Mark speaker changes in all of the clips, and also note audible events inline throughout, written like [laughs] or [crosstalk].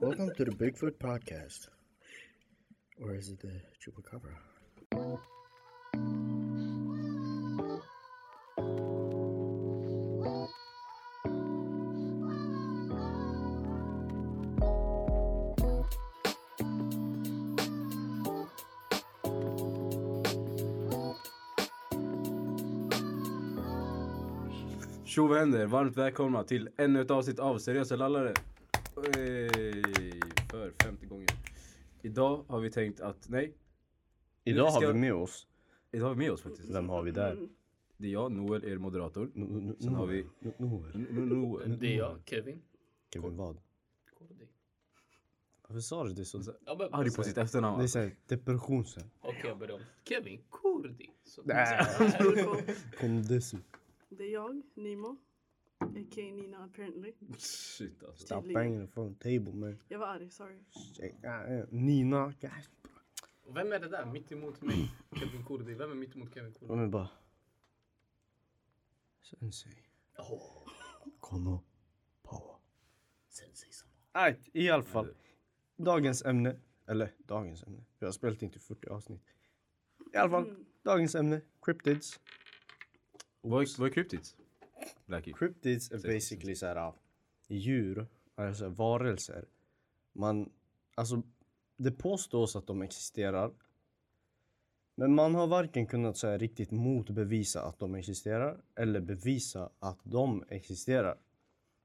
Speaker 1: Welcome to the Bigfoot Podcast. Or is it the Chupacabra?
Speaker 2: Tjo vad händer? Varmt välkomna till ännu ett avsnitt av Seriösa Lallare. Ey, för femte gången. Idag har vi tänkt att, nej,
Speaker 1: Idag
Speaker 2: ska-
Speaker 1: har vi med oss,
Speaker 2: idag har vi med oss faktiskt.
Speaker 1: vem har vi där?
Speaker 2: Det är jag, Noel, er moderator. Sen har
Speaker 1: Noel.
Speaker 2: vi
Speaker 1: Noel.
Speaker 2: N- N- Noel.
Speaker 3: Det är
Speaker 4: Mm.
Speaker 3: jag, Kevin.
Speaker 1: Kevin vad?
Speaker 3: KD.
Speaker 4: Varför sa du det så? Det
Speaker 3: Ja, men,
Speaker 2: Arg på sitt efternamn.
Speaker 4: Mm. är
Speaker 2: va?
Speaker 4: såhär depression sen.
Speaker 3: Okej, jag börjar om. Kevin Kurdi. Så,
Speaker 4: [laughs] Kom desu.
Speaker 5: Det är jag, Nimo. A.k.a. Nina apparently.
Speaker 2: Shit alltså.
Speaker 4: Stop banging the phone table man.
Speaker 5: Jag var arg, sorry.
Speaker 4: Shit, ah, eh, Nina. gosh.
Speaker 3: Och vem är det där mitt emot mig? Kevin Kurdi. Vem är mitt emot Kevin Kurdi?
Speaker 4: De är bara... Sensei. Kono. Power.
Speaker 3: Sensei samma.
Speaker 4: Alright, i alla fall. Dagens ämne. Eller dagens ämne. Vi har spelat in till 40 avsnitt. I alla fall. Dagens ämne. Cryptids.
Speaker 2: Vad är, vad är kryptids? Blackie.
Speaker 4: Cryptids är basically så här djur, alltså varelser. Man, alltså, det påstås att de existerar. Men man har varken kunnat så här, riktigt motbevisa att de existerar eller bevisa att de existerar.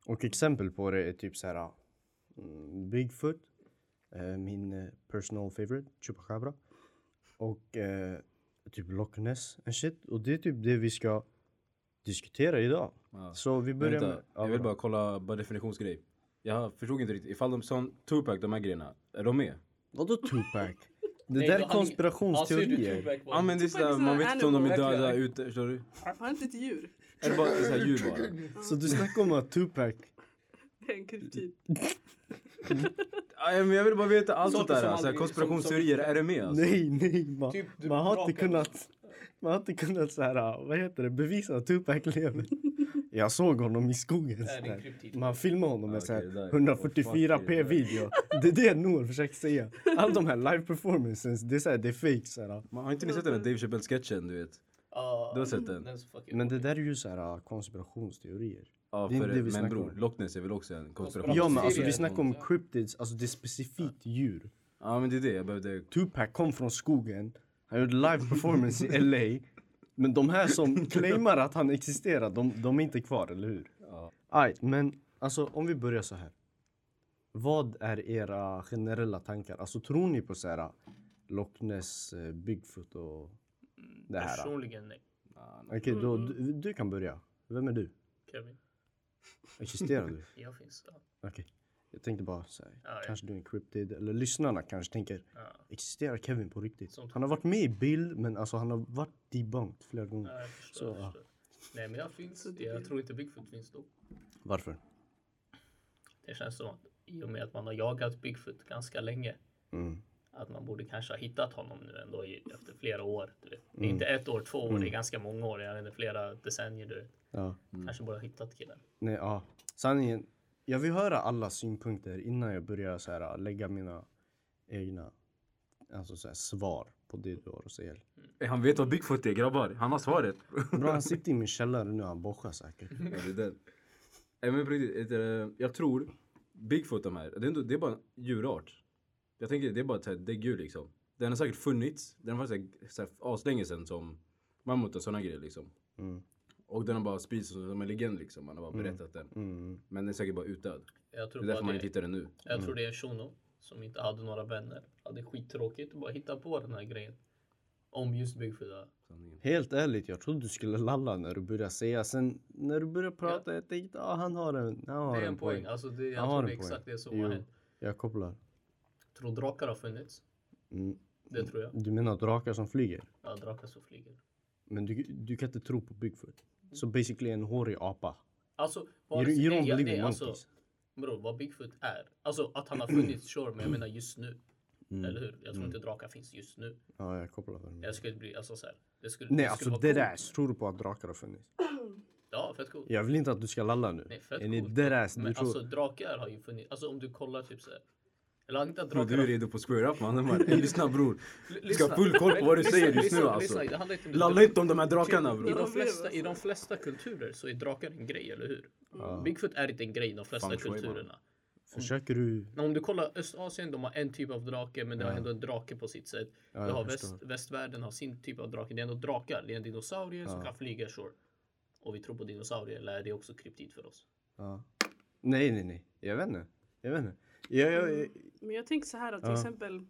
Speaker 4: Och exempel på det är typ så här mm, Bigfoot, eh, min eh, personal favorite, Chupacabra. Och eh, typ Loch Ness and shit. Och det är typ det vi ska diskutera idag.
Speaker 2: Ja.
Speaker 4: Så vi börjar
Speaker 2: Ah, Vänta,
Speaker 4: med...
Speaker 2: jag vill bara kolla bara definitionsgrej. Jag förstod inte riktigt, ifall de sa Tupac, de här grejerna, är de med?
Speaker 4: Vadå [laughs] Tupac? Det där är konspirationsteorier.
Speaker 2: Ja men det är sådär, man vet inte om de är döda ute, förstår du?
Speaker 5: Var inte ett djur?
Speaker 2: Är det bara såhär djur bara?
Speaker 4: Så du snackar om att Tupac...
Speaker 5: Det är en kryptid.
Speaker 2: Ja, men jag vill bara veta allt sånt
Speaker 3: Saker
Speaker 2: där,
Speaker 3: som
Speaker 2: alltså,
Speaker 3: aldrig- som-
Speaker 2: konspirationsteorier,
Speaker 3: som-
Speaker 2: är det med alltså?
Speaker 4: Nej, nej. Man,
Speaker 3: Typ, du
Speaker 4: man har
Speaker 3: rakar.
Speaker 4: inte kunnat... Man har inte kunnat så här, ah, vad heter det, bevisa att Tupac [laughs] lever. Jag såg honom i skogen.
Speaker 3: Det är
Speaker 4: så här.
Speaker 3: en kryptid.
Speaker 4: Man filmar honom med
Speaker 2: Ja,
Speaker 4: så
Speaker 2: okej, det
Speaker 4: här
Speaker 2: där är- vad fan är det
Speaker 4: 144p
Speaker 2: där?
Speaker 4: video. Det är det Noor försöker säga. Alla de här live performances, det är, så här, det är fake. Så här.
Speaker 2: Man har inte ni sett den där Dave Chappelle-sketchen du vet?
Speaker 3: Ja,
Speaker 2: Du har sett den?
Speaker 3: den är så fucking
Speaker 4: Men det där är ju så här ah, konspirationsteorier.
Speaker 2: Ja,
Speaker 4: Det är
Speaker 2: för,
Speaker 4: inte det vi
Speaker 2: men
Speaker 4: snackar
Speaker 2: bror,
Speaker 4: om.
Speaker 2: Loch Ness är väl också en konspiration?
Speaker 4: Ja men alltså vi
Speaker 3: Serier.
Speaker 4: snackar om cryptids, alltså det är specifikt djur.
Speaker 2: Ja men det är det, jag behövde...
Speaker 4: Tupac kom från skogen, han gjorde live performance i LA. Men de här som claimar att han existerar, de, de är inte kvar, eller hur?
Speaker 2: Ja.
Speaker 4: Aj, men alltså om vi börjar så här. Vad är era generella tankar? Alltså tror ni på så här Loch Ness, eh, Bigfoot och det här? Okej,
Speaker 3: Personligen nej.
Speaker 4: då du, du kan börja. Vem är du?
Speaker 3: Kevin.
Speaker 4: Existerar du?
Speaker 3: Jag finns. Ja.
Speaker 4: Okej. Jag tänkte bara säga,
Speaker 3: ja.
Speaker 4: kanske du är en cryptid, eller lyssnarna kanske tänker,
Speaker 3: Ja.
Speaker 4: existerar Kevin på riktigt?
Speaker 3: Sånt.
Speaker 4: Han har varit med i bild, men alltså han har varit debunked flera gånger.
Speaker 3: Ja, jag förstår,
Speaker 4: Så,
Speaker 3: jag
Speaker 4: ja.
Speaker 3: förstår. Nej men jag finns.
Speaker 5: Så det är-
Speaker 3: Jag tror inte Bigfoot finns då.
Speaker 4: Varför?
Speaker 3: Det känns som att i och med att man har jagat Bigfoot ganska länge
Speaker 4: Mm.
Speaker 3: att man borde kanske ha hittat honom nu ändå i, efter flera år. Du vet. Det är inte ett år, två år, det är ganska många år, jag vet inte, flera decennier. Du vet.
Speaker 4: Ja.
Speaker 3: Kanske borde ha hittat killen.
Speaker 4: Nej, ja. Sanningen, jag vill höra alla synpunkter innan jag börjar så här, lägga mina egna alltså, så här, svar på det du har att säga.
Speaker 2: Han vet vad Bigfoot är grabbar, han har svaret.
Speaker 4: Bra, han sitter i min källare nu, han borstar säkert.
Speaker 2: ja, det är den. Nej men på riktigt, vet du, eh, jag tror Bigfoot de här, det är, ändå, det är bara en djurart. Jag tänker det är bara ett så här däggdjur liksom. Den har säkert funnits, den var säkert så här aslänge sedan som mammut och sådana grejer liksom.
Speaker 4: Mm.
Speaker 2: Och den har bara spridits som en legend liksom, man har bara berättat den.
Speaker 4: Mm.
Speaker 2: Men den är säkert bara utdöd.
Speaker 3: Jag
Speaker 2: Det
Speaker 3: tror,
Speaker 2: är
Speaker 3: bara
Speaker 2: därför man
Speaker 3: det,
Speaker 2: inte hittar den nu.
Speaker 3: jag tror det är en shuno som inte hade några vänner. Hade skittråkigt och bara hitta på den här grejen. Om just Bigfoot. ja.
Speaker 2: Sanningen.
Speaker 4: Helt ärligt, jag trodde du skulle lalla när du började säga. Sen när du började prata, jag tänkte ah, han har en, han har
Speaker 3: Det är en poäng. Alltså det, jag
Speaker 4: Han har
Speaker 3: tror
Speaker 4: en
Speaker 3: det
Speaker 4: poäng.
Speaker 3: är exakt det som
Speaker 4: Jo,
Speaker 3: har hänt.
Speaker 4: jag kopplar.
Speaker 3: Tror drakar har funnits.
Speaker 4: Mm.
Speaker 3: Det tror jag.
Speaker 4: Du menar drakar som flyger?
Speaker 3: Ja, drakar som flyger.
Speaker 4: Men du, du kan inte tro på Bigfoot. Så
Speaker 3: Mm.
Speaker 4: basically en hårig apa.
Speaker 3: Alltså,
Speaker 4: You,
Speaker 3: vare sig-
Speaker 4: you don't
Speaker 3: nej, jag-
Speaker 4: believe
Speaker 3: nej,
Speaker 4: in
Speaker 3: alltså,
Speaker 4: monkeys?
Speaker 3: Bror, vad Bigfoot är. Alltså att han har funnits, sure, men jag menar just nu.
Speaker 4: Mm.
Speaker 3: Eller hur? Jag tror inte drakar finns just nu.
Speaker 4: Ja, jag kopplar vad du menar.
Speaker 3: Jag skulle bli, alltså såhär. Det skulle,
Speaker 4: Nej,
Speaker 3: det
Speaker 4: alltså
Speaker 3: skulle vara
Speaker 4: det
Speaker 3: coolt.
Speaker 4: där. Tror du på att drakar har funnits?
Speaker 3: Ja, fett coolt.
Speaker 4: Jag vill inte att du ska lalla nu.
Speaker 3: Nej, fett
Speaker 4: Är ni
Speaker 3: coolt.
Speaker 4: deadass? Du
Speaker 3: Men mm.
Speaker 4: tror...
Speaker 3: alltså drakar har ju funnits. Alltså om du alltså, kollar typ såhär.
Speaker 6: Jag har inte att
Speaker 2: Bro,
Speaker 6: drakar...
Speaker 2: du
Speaker 6: har-
Speaker 2: är redo på square up mannen. Man. Lyssna bror. Du ska
Speaker 3: lyssna.
Speaker 2: ha full koll på vad du
Speaker 3: Lyssna,
Speaker 2: säger just
Speaker 3: lyssna,
Speaker 2: nu
Speaker 3: lyssna.
Speaker 2: alltså.
Speaker 3: Det handlar inte om-
Speaker 2: Lalla inte om de här drakarna
Speaker 3: I
Speaker 2: bror.
Speaker 3: de, flesta, I de flesta kulturer så är drakar en grej, eller hur? Bigfoot är inte en grej i de flesta
Speaker 2: Feng shui, man.
Speaker 3: kulturerna.
Speaker 4: Försöker du?
Speaker 3: Men om du kollar Östasien, de har en typ av drake, men det har ändå en drake på sitt sätt.
Speaker 4: jag
Speaker 3: du har
Speaker 4: förstår.
Speaker 3: väst, västvärlden har sin typ av drake. Det är ändå drakar. Det är en dinosaurie som kan flyga, sure. Och vi tror på dinosaurier, eller är det också kryptid för oss?
Speaker 4: Ja. Nej, nej, nej. Jag vet inte. Jag vet inte. Jag, jag, jag,
Speaker 3: Mm.
Speaker 5: Men jag tänker så här att till
Speaker 4: Ja.
Speaker 5: exempel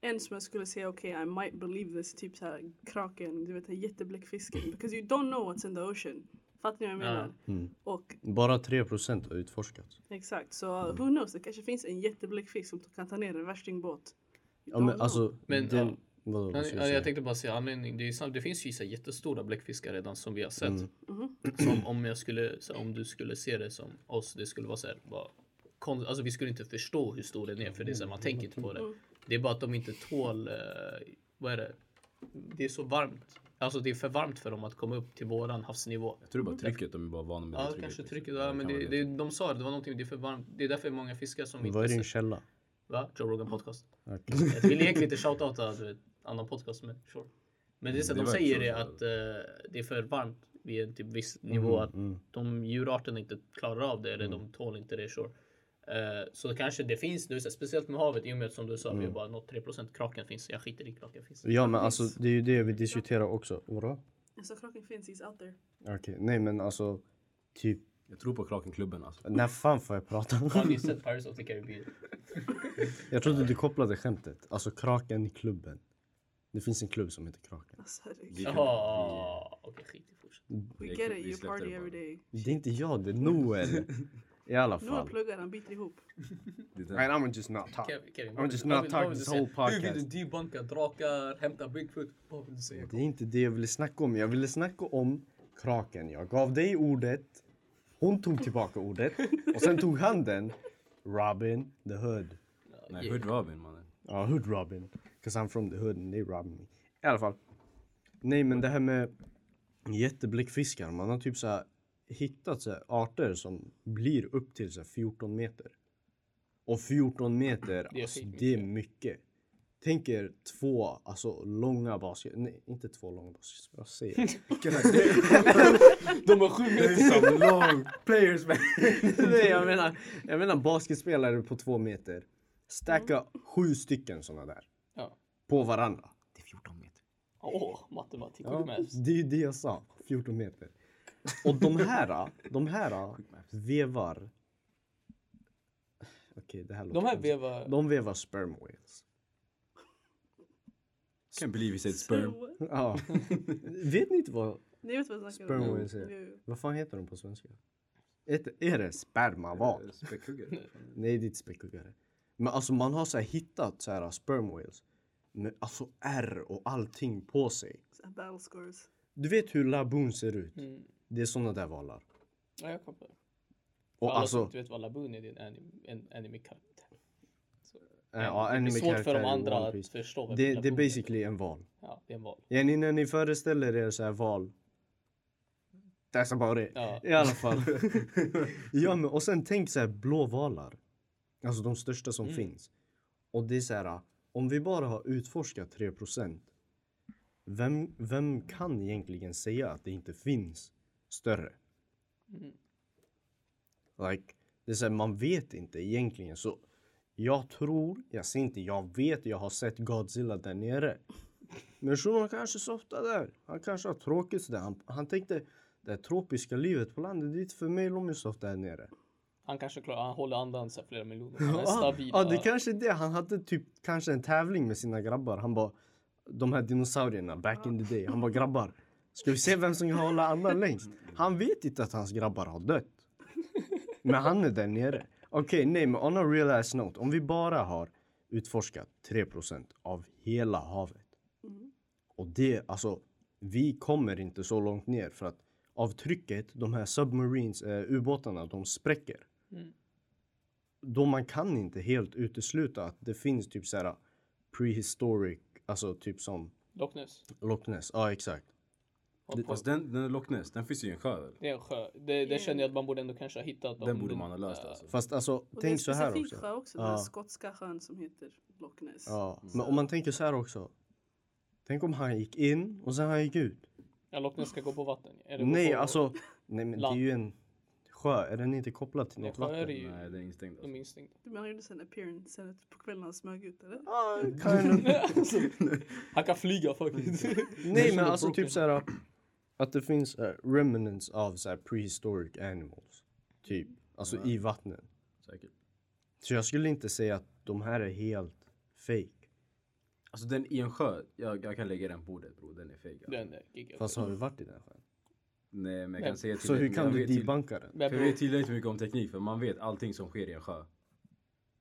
Speaker 5: en som jag skulle säga okej I might believe this typ så här kraken, du vet den här jättebläckfisken. Because you don't know what's in the ocean. Fattar ni vad jag
Speaker 3: Ja.
Speaker 5: menar?
Speaker 4: Mm.
Speaker 5: Och
Speaker 4: bara 3 procent har utforskat.
Speaker 5: exakt, så who knows, det kanske finns en jättebläckfisk som kan ta ner en värstingbåt. You
Speaker 4: Ja,
Speaker 5: don't
Speaker 4: men
Speaker 5: know.
Speaker 4: alltså,
Speaker 3: Men,
Speaker 4: den,
Speaker 3: ja.
Speaker 4: vadå, vad
Speaker 3: Nej,
Speaker 4: ska
Speaker 3: nej,
Speaker 4: säga?
Speaker 3: jag tänkte bara säga anledning. Det, är, sant, det finns ju så här jättestora bläckfiskar redan som vi har sett. Mm-hmm.
Speaker 4: Mm.
Speaker 5: Mhm.
Speaker 3: Som om, jag skulle, så om du skulle se det som oss, det skulle vara så här, bara, kon- alltså vi skulle inte förstå hur stor den är för det är så här, man tänker inte på det. Det är bara att de inte tål, eh, vad är det? Det är så varmt. Alltså det är för varmt för dem att komma upp till våran havsnivå.
Speaker 2: Jag tror det är bara trycket. De är bara vana med det
Speaker 3: Ja,
Speaker 2: trycket.
Speaker 3: kanske
Speaker 2: liksom.
Speaker 3: trycket. Ja, men
Speaker 2: kan vara
Speaker 3: det, det, de sa det, det var någonting, det är för varmt. Det är därför många fiskar som
Speaker 4: Vad är
Speaker 3: inte...
Speaker 4: din
Speaker 3: ser-
Speaker 4: källa?
Speaker 3: [laughs] Va? Joe Rogan podcast.
Speaker 4: Okej.
Speaker 3: Jag vill egentligen inte shoutouta du vet, annan podcast men sure. Men det är så att
Speaker 2: Det
Speaker 4: Mm,
Speaker 3: de
Speaker 2: var
Speaker 3: säger
Speaker 2: inte
Speaker 3: det
Speaker 2: så.
Speaker 3: att eh, det är för varmt vid en typ viss
Speaker 4: Mm,
Speaker 3: nivå att de djurarterna inte klarar av det eller de tål inte det sure. Eh, så kanske det finns, det är så här, speciellt med havet i och med att som du sa vi har bara nått 3% kraken finns. Jag skiter i kraken finns.
Speaker 4: Mm. Ja, men alltså det är ju det vi diskuterar också. Vadå?
Speaker 5: Alltså kraken finns, he's out there.
Speaker 4: Okej, nej men alltså typ,
Speaker 2: Jag tror på Krakenklubben alltså.
Speaker 4: när fan får jag prata?
Speaker 3: Har ni sett Pirates of the Caribbean?
Speaker 4: [laughs] jag trodde du kopplade skämtet. Alltså kraken i klubben. Det finns en klubb som heter Kraken.
Speaker 5: Alltså, herregud.
Speaker 2: Vi-
Speaker 3: Jaha, okej skit i fortsätt.
Speaker 5: we
Speaker 2: vi-
Speaker 5: get
Speaker 2: vi
Speaker 5: it, you
Speaker 2: släppte
Speaker 5: party
Speaker 2: det bara.
Speaker 5: every day.
Speaker 4: Det är inte jag, det är Noel. I alla
Speaker 5: Några
Speaker 4: fall.
Speaker 5: pluggar, han biter ihop.
Speaker 2: Det är
Speaker 4: And
Speaker 2: den.
Speaker 4: I'm just not talking.
Speaker 3: Kevin, Kevin,
Speaker 4: I'm
Speaker 3: vad vill-
Speaker 4: just
Speaker 3: vad
Speaker 4: not
Speaker 3: vill-
Speaker 4: talking
Speaker 3: vad vill
Speaker 4: this
Speaker 3: du säga?
Speaker 4: whole
Speaker 3: Hur vill
Speaker 4: podcast.
Speaker 3: du debunka drakar, hämta Bigfoot? Vad vill du säga?
Speaker 4: Det är inte det jag ville snacka om. Jag ville snacka om kraken. Jag gav dig ordet. Hon tog tillbaka ordet. Och sen tog han den. Robin the Hood.
Speaker 2: Nej, Hood Robin mannen.
Speaker 4: Ja, Hood Robin. Cause I'm from the Hood and they robbed me. I alla fall. Nej, men det här med jättebläckfiskar. Man har typ så här hittat så här arter som blir upp till så här 14 meter. Och 14 meter,
Speaker 3: Det är
Speaker 4: alltså,
Speaker 3: skitmycket.
Speaker 4: det är mycket. Tänk er två alltså, långa basket... Nej, inte två långa basket. Vad säger
Speaker 3: [laughs]
Speaker 4: jag?
Speaker 3: De har sju meter.
Speaker 2: Some long players
Speaker 3: [laughs]
Speaker 2: man.
Speaker 4: Nej, jag menar, jag menar basketspelare på två meter. Stacka sju stycken såna där.
Speaker 3: Ja.
Speaker 4: På varandra.
Speaker 2: Det är 14 meter.
Speaker 3: Åh, matematik.
Speaker 4: Ja,
Speaker 3: Good maths.
Speaker 4: det är ju det jag sa. 14 meter. Och de här, de här vevar... Okej, det här låter
Speaker 3: De här
Speaker 4: konstigt.
Speaker 3: vevar...
Speaker 4: De vevar sperm whales.
Speaker 2: Can't believe he said sperm.
Speaker 5: what?
Speaker 4: Ja. Vet ni inte vad,
Speaker 5: Ni vet vad jag snackar
Speaker 4: sperm
Speaker 5: typ om?
Speaker 4: whales
Speaker 5: Jo,
Speaker 4: är?
Speaker 5: jo.
Speaker 4: Vad fan heter de på svenska? Ett, är det spermaval?
Speaker 2: [laughs] Späckhuggare.
Speaker 4: Nej, det är inte späckhuggare. Men alltså man har så här hittat så här sperm whales. Med alltså ärr och allting på sig.
Speaker 5: Så här Battle scores.
Speaker 4: Du vet hur laboon ser ut?
Speaker 3: Mm.
Speaker 4: Det är såna där valar.
Speaker 3: Ja, jag kom på det. För
Speaker 4: Och
Speaker 3: alla som
Speaker 4: alltså...
Speaker 3: inte vet vad Laboon är, det är en anim- en anime-karaktär.
Speaker 4: eh, Ja,
Speaker 3: det är svårt
Speaker 4: anime-karaktärer
Speaker 3: för de
Speaker 4: i
Speaker 3: andra
Speaker 4: One
Speaker 3: att
Speaker 4: Piece.
Speaker 3: förstå vem
Speaker 4: Det, det är
Speaker 3: Laboon
Speaker 4: basically en val.
Speaker 3: Ja, det är en val.
Speaker 4: Ja, ni, när ni föreställer er så här val. That's about it.
Speaker 3: Ja.
Speaker 4: I alla fall. [laughs] ja, men och sen tänk så här blåvalar. Alltså de största som finns. Och det är så här. Om vi bara har utforskat 3%. Vem, vem kan egentligen säga att det inte finns större? Like, det är så här, man vet inte egentligen. Så jag tror, jag ser inte, jag vet, jag har sett Godzilla där nere. Men shunon kanske softar där. Han kanske har tråkigt där. Han, han tänkte, det här tropiska livet på landet, det är inte för mig Lomisov där nere.
Speaker 3: Han kanske klarar, han håller andan så här flera miljoner. Han är
Speaker 4: Ja,
Speaker 3: stabil.
Speaker 4: ja, det kanske är det. Han hade typ kanske en tävling med sina grabbar. Han bara, de här dinosaurierna back in the day. Han bara, grabbar, ska vi se vem som kan hålla andan längst? Han vet inte att hans grabbar har dött. Men han är där nere. Okej, nej, men on a real ass note. Om vi bara har utforskat 3% av hela havet.
Speaker 5: Mm.
Speaker 4: Och det, alltså, vi kommer inte så långt ner för att av trycket, de här submarines, eh, ubåtarna, de spräcker.
Speaker 3: Mm.
Speaker 4: Då man kan inte helt utesluta att det finns typ så här prehistoric, alltså typ som
Speaker 3: Loch Ness.
Speaker 4: Loch Ness. Ja, exakt.
Speaker 2: Fast den, den är Loch Ness, den finns ju i en sjö väl?
Speaker 3: Det är en sjö. Det, det känner jag att man borde ändå kanske ha hittat. om
Speaker 2: Den borde
Speaker 3: den-
Speaker 2: man ha löst
Speaker 3: eh,
Speaker 2: alltså.
Speaker 4: Fast alltså,
Speaker 5: Och det är en
Speaker 4: tänk så här
Speaker 5: specifik
Speaker 4: också.
Speaker 5: sjö också, den här
Speaker 4: Ja.
Speaker 5: skotska sjön som heter Loch Ness.
Speaker 4: Ja.
Speaker 2: Mm.
Speaker 4: Men om man tänker så här också. Tänk om han gick in och sen han gick ut.
Speaker 3: Ja, Loch Ness ska gå på vatten. Eller gå
Speaker 4: Nej,
Speaker 3: på,
Speaker 4: alltså. Nej, men det är
Speaker 3: Land.
Speaker 4: ju en sjö. Är den inte kopplad till
Speaker 3: Nej,
Speaker 4: något
Speaker 3: sjöar är
Speaker 4: vatten?
Speaker 3: ju
Speaker 2: Nej, den är instängd
Speaker 3: de är
Speaker 2: alltså.
Speaker 3: instängda. [laughs]
Speaker 5: Du menar han gjorde sen appearance sen att på kvällen han smög ut eller?
Speaker 4: Ah, kind of.
Speaker 3: Alltså, Han kan flyga faktiskt.
Speaker 4: Nej, men alltså typ så här. Att det finns eh, remnants av så här prehistoric animals. Typ. Alltså i vattnet.
Speaker 2: Säkert.
Speaker 4: Så jag skulle inte säga att de här är helt fake.
Speaker 2: Alltså den i en sjö, jag, jag kan lägga den på bordet bror, den är fake. Alltså.
Speaker 3: Den är giga.
Speaker 4: Fast har vi varit i den sjön?
Speaker 2: Nej men jag
Speaker 3: Men-
Speaker 2: kan säga till
Speaker 4: Så
Speaker 2: dig-
Speaker 4: hur
Speaker 2: jag
Speaker 4: kan du
Speaker 2: vet till-
Speaker 4: debunka den?
Speaker 3: Men
Speaker 2: För vi vet tillräckligt mycket om teknik för man vet allting som sker i en sjö.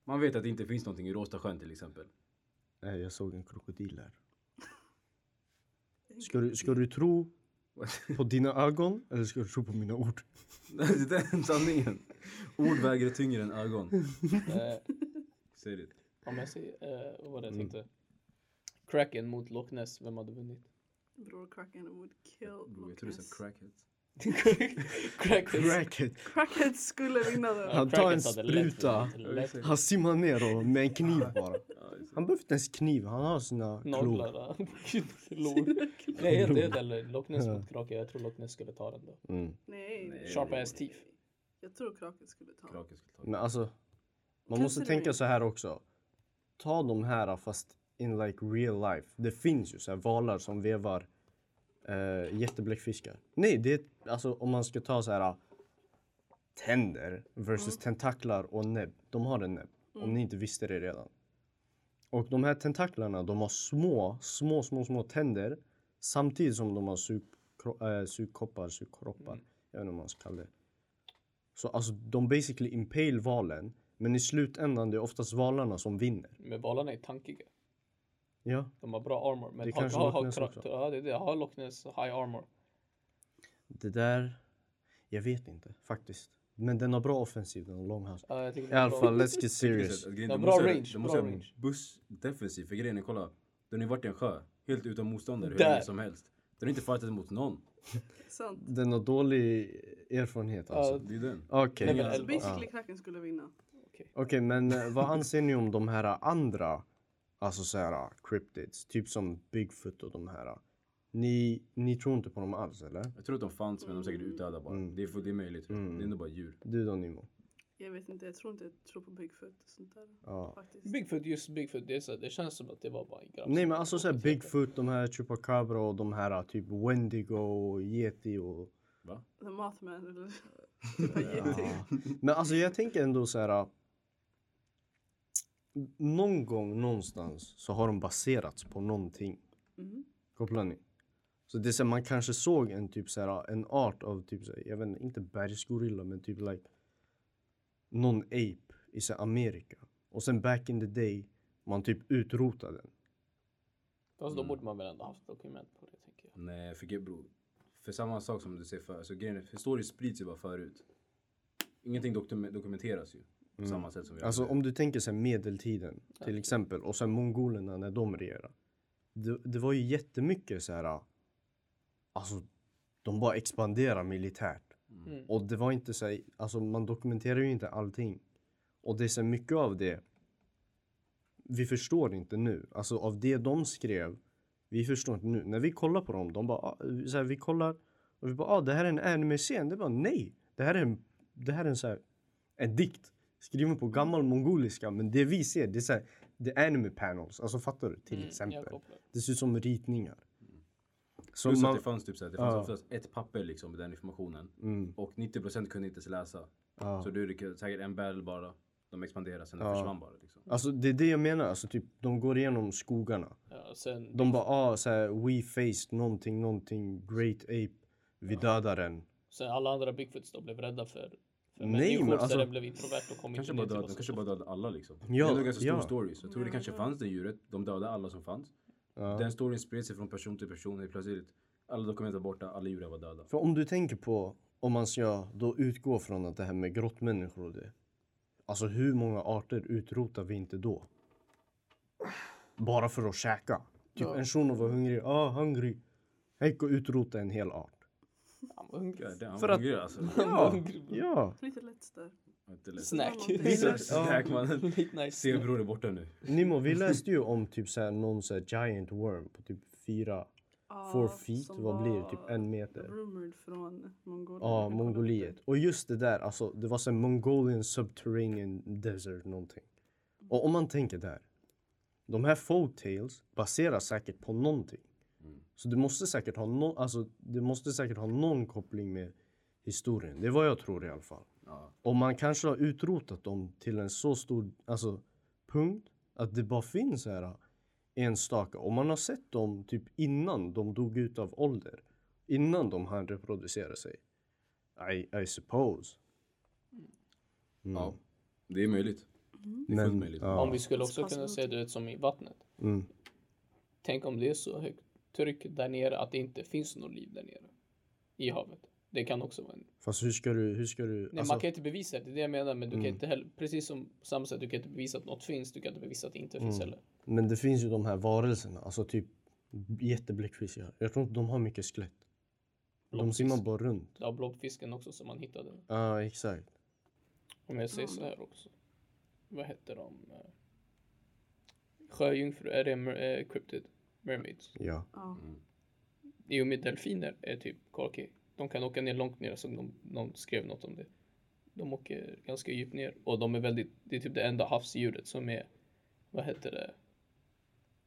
Speaker 2: Man vet att det inte finns någonting i Råstasjön till exempel. [laughs]
Speaker 4: Nej, jag såg en krokodil där. Ska du, ska du tro på dina ögon eller ska du tro på mina [laughs] ord?
Speaker 2: det är den sanningen. Ord väger tyngre än ögon.
Speaker 3: eh,
Speaker 2: Säg det.
Speaker 3: om jag säger, eh, vad var det jag
Speaker 4: Mm.
Speaker 3: tänkte? Kraken mot Loch Ness, vem
Speaker 4: [laughs]
Speaker 3: hade vunnit?
Speaker 5: Bror Kraken would kill
Speaker 2: Bror, Mm, Jag
Speaker 5: Loch
Speaker 2: tror du sa
Speaker 5: Ness.
Speaker 2: crackhead.
Speaker 3: Kraken.
Speaker 4: Cracket.
Speaker 5: Kraken skulle
Speaker 2: [laughs]
Speaker 5: vinna
Speaker 3: Ja,
Speaker 5: den.
Speaker 4: Han tar
Speaker 3: Kraken
Speaker 4: en
Speaker 3: hade lätt
Speaker 4: spruta.
Speaker 3: vunnit, lätt.
Speaker 4: Han simmar ner och med en kniv bara. Han behöver inte ens kniv, han har sina klor.
Speaker 3: Naglar. [laughs] Klor. Nej, jag vet eller Loch Ness mot Kraken. Jag tror Loch Ness skulle ta den då.
Speaker 4: Mm.
Speaker 5: Nej, nej.
Speaker 3: Sharp ass teeth.
Speaker 5: Jag tror Kraken skulle ta den.
Speaker 2: Kraken skulle ta det.
Speaker 4: Men alltså, man
Speaker 5: Kan
Speaker 4: måste
Speaker 5: inte du-
Speaker 4: tänka så här också. Ta de här fast in like real life. Det finns ju så här valar som vevar eh, jättebläckfiskar. Nej, det är alltså om man ska ta så här tänder versus tentaklar och näbb. De har en näbb,
Speaker 5: Mm.
Speaker 3: Mm.
Speaker 4: om ni inte visste det redan. Och de här tentaklarna, de har små, små, små, små tänder samtidigt som de har sugkro- eh, sugkoppar, sugkroppar.
Speaker 3: Mm.
Speaker 4: Jag vet inte vad man ska kalla det. Så alltså de basically impale valen. Men i slutändan det är oftast valarna som vinner.
Speaker 3: Men valarna är tankiga.
Speaker 4: Ja.
Speaker 3: De har bra armor. Men
Speaker 4: Det
Speaker 3: har,
Speaker 4: kanske
Speaker 3: har,
Speaker 4: Loch
Speaker 3: har,
Speaker 4: Ness
Speaker 3: Kra-
Speaker 4: också.
Speaker 3: ja, det är det. Har Loch Ness high armor?
Speaker 4: Det där. Jag vet inte faktiskt. Men den har bra offensiv, den har lång hals.
Speaker 3: Ja, jag tycker
Speaker 4: I
Speaker 3: det är
Speaker 4: alla
Speaker 3: bra.
Speaker 4: fall, let's get
Speaker 2: Precis,
Speaker 3: [laughs]
Speaker 4: serious.
Speaker 2: att grejen-
Speaker 3: Ja,
Speaker 2: de
Speaker 3: bra
Speaker 2: måste-
Speaker 3: range,
Speaker 2: De måste
Speaker 3: bra
Speaker 2: ha
Speaker 3: range.
Speaker 2: bussdefensiv. För grejen är, kolla. Den har ju varit i en sjö. Helt utan motståndare hur
Speaker 3: Där.
Speaker 2: länge som helst. Den har inte fightat mot någon.
Speaker 5: Sant.
Speaker 4: Den har dålig erfarenhet alltså.
Speaker 2: Det är den.
Speaker 4: Okej.
Speaker 3: Nej, men
Speaker 4: Okej
Speaker 5: Så
Speaker 3: elva.
Speaker 5: basically Kraken skulle vinna.
Speaker 4: men eh, vad anser ni om de här andra? Alltså så här cryptids. Typ som Bigfoot och de här. Ni, ni tror inte på dem alls eller?
Speaker 2: Jag tror att de fanns men de är säkert utdöda bara.
Speaker 4: Mm.
Speaker 2: Det, är, det är möjligt. Det är ändå bara djur.
Speaker 4: Du då Nimo?
Speaker 5: Jag vet inte, jag tror inte jag tror på Bigfoot och sånt där.
Speaker 4: Ja.
Speaker 5: Faktiskt.
Speaker 3: Bigfoot, just Bigfoot. Det, är så, här- det känns som att det var bara en grabb.
Speaker 4: Nej men alltså såhär Bigfoot, de här Chupacabra och de här typ Wendigo och Yeti och...
Speaker 5: The Mothman eller [laughs] typ av geting.
Speaker 4: Ja. Men alltså jag tänker ändå så här. äh, Någon gång någonstans så har de baserats på någonting.
Speaker 5: Mhm.
Speaker 4: Kopplar ni? Så det är så här, man kanske såg en typ så här, en art av typ så här, jag vet inte, inte bergsgorilla men typ like någon ape i så här, Amerika. Och sen back in the day man typ utrotade den.
Speaker 3: Fast då borde man väl ändå haft dokument på det tänker jag.
Speaker 2: Nej, för gud bror. För samma sak som du säger för, så grejen är, historiskt sprids ju bara förut. Ingenting dokum- dokumenteras ju. På samma sätt som vi
Speaker 4: Alltså
Speaker 2: gör.
Speaker 4: om du tänker sig medeltiden till exempel och sen mongolerna när de regerade. Det, det var ju jättemycket så här. ah, Alltså de bara expanderade militärt
Speaker 3: Mm.
Speaker 4: och det var inte så här, alltså man dokumenterar ju inte allting och det är så här, mycket av det. Vi förstår inte nu, alltså av det de skrev. Vi förstår inte nu när vi kollar på dem. De bara ah, så här, vi kollar och vi bara ah, det här är en anime-scen. Det bara nej, det här är en, det här är en så här en dikt skriven på gammal mongoliska. Men det vi ser, det är så här, det är anime panels. Alltså fattar du? Till
Speaker 3: Mm, jag
Speaker 4: exempel.
Speaker 3: kopplar.
Speaker 4: Det ser ut som ritningar. Så
Speaker 2: Plus
Speaker 4: man,
Speaker 2: att det fanns typ såhär, det fanns
Speaker 4: Ja.
Speaker 2: oftast ett papper liksom med den informationen.
Speaker 4: mm,
Speaker 2: Och 90% kunde inte ens läsa.
Speaker 4: ja.
Speaker 2: Så du är säkert en battle bara. De expanderade sen det
Speaker 4: Ja.
Speaker 2: försvann bara. Liksom.
Speaker 4: Alltså det är det jag menar. Alltså typ de går igenom skogarna.
Speaker 3: Ja, sen,
Speaker 4: De bara ah, så här, we faced någonting, någonting, great ape. Vi dödar den.
Speaker 3: sen alla andra Bigfoots då blev rädda för, för
Speaker 4: Nej,
Speaker 3: människor
Speaker 4: men
Speaker 3: så
Speaker 4: alltså-
Speaker 3: det blev introvert och kom
Speaker 2: Kanske
Speaker 3: inte
Speaker 2: bara
Speaker 3: ner till
Speaker 2: död, de
Speaker 3: oss.
Speaker 2: kanske bara dödade alla liksom.
Speaker 4: Ja,
Speaker 2: det är nog ganska stor
Speaker 4: ja.
Speaker 2: story. Så jag tror det kanske fanns det djuret. De dödade alla som fanns.
Speaker 4: Ja.
Speaker 2: Den storyn spred sig från person till person. Helt plötsligt. Alla dokument var borta. Alla djur var döda.
Speaker 4: För om du tänker på, om man ska då utgå från att det här med grottmänniskor och det. Alltså hur många arter utrotar vi inte då? Bara för att käka. Typ en shuno var hungrig, ah hungry. Det gick att utrota en hel art.
Speaker 3: Han var hungrig.
Speaker 2: God damn,
Speaker 3: För
Speaker 2: För
Speaker 3: att-
Speaker 2: hungrig alltså.
Speaker 3: Han var hungrig. bro.
Speaker 4: Ja,
Speaker 5: Lite lätt där.
Speaker 2: Inte lätt.
Speaker 3: Snack. [laughs]
Speaker 4: Vissa-
Speaker 2: Snack mannen.
Speaker 3: Midnight snack.
Speaker 2: Zebror är borta nu.
Speaker 4: Nimo, vi läste ju om typ så här, någon så här giant worm på typ fyra, four feet.
Speaker 5: som
Speaker 4: Vad blir det? Typ
Speaker 5: var
Speaker 4: en meter.
Speaker 5: Rumored från Mongoliet.
Speaker 4: Ja,
Speaker 5: Jag kollade
Speaker 4: Mongoliet. Och just det där, alltså det var så här Mongolian Subterranean Desert någonting. Och om man tänker där. De här folktales baseras säkert på någonting. Så det måste säkert ha någon, alltså det måste säkert ha någon koppling med historien. Det är vad jag tror i alla fall.
Speaker 2: Ja.
Speaker 4: Och man kanske har utrotat dem till en så stor alltså, punkt att det bara finns här enstaka. Och man har sett dem typ innan de dog ut av ålder. Innan de hann reproducera sig. I, I suppose. Mm.
Speaker 2: ja. Det är möjligt. Det är fullt möjligt.
Speaker 4: ja.
Speaker 3: Om vi skulle också
Speaker 5: Spasmer.
Speaker 3: kunna se det ut som i vattnet.
Speaker 4: Mm.
Speaker 3: Tänk om det är så högt tryck där nere att det inte finns något liv där nere. I havet. Det kan också vara en...
Speaker 4: Fast hur ska du, hur ska du, alltså,
Speaker 3: Nej,
Speaker 2: Alltså-
Speaker 3: man kan ju inte bevisa det. Det är det jag menar. Men du
Speaker 2: Mm.
Speaker 3: kan inte heller... Precis som på samma sätt, du kan inte bevisa att något finns. Du kan inte bevisa att det inte
Speaker 2: Mm.
Speaker 3: finns heller.
Speaker 4: men det finns ju de här varelserna, alltså typ jättebläckfiskar. Jag tror inte de har mycket skelett. De
Speaker 3: Blobfisk.
Speaker 4: simmar bara runt.
Speaker 3: Du har blobfisken också som man hittade.
Speaker 4: Ja, exakt.
Speaker 3: Om jag säger så här också. Vad heter de? Eh, Sjöjungfru, är det mer- eh, cryptid? Mermaids?
Speaker 4: Ja.
Speaker 5: Ja.
Speaker 2: Mm.
Speaker 3: I och med delfiner E är typ korki. De kan åka ner långt ner, som de, någon skrev något om det. De åker ganska djupt ner och de är väldigt, det är typ det enda havsdjuret som är, vad heter det?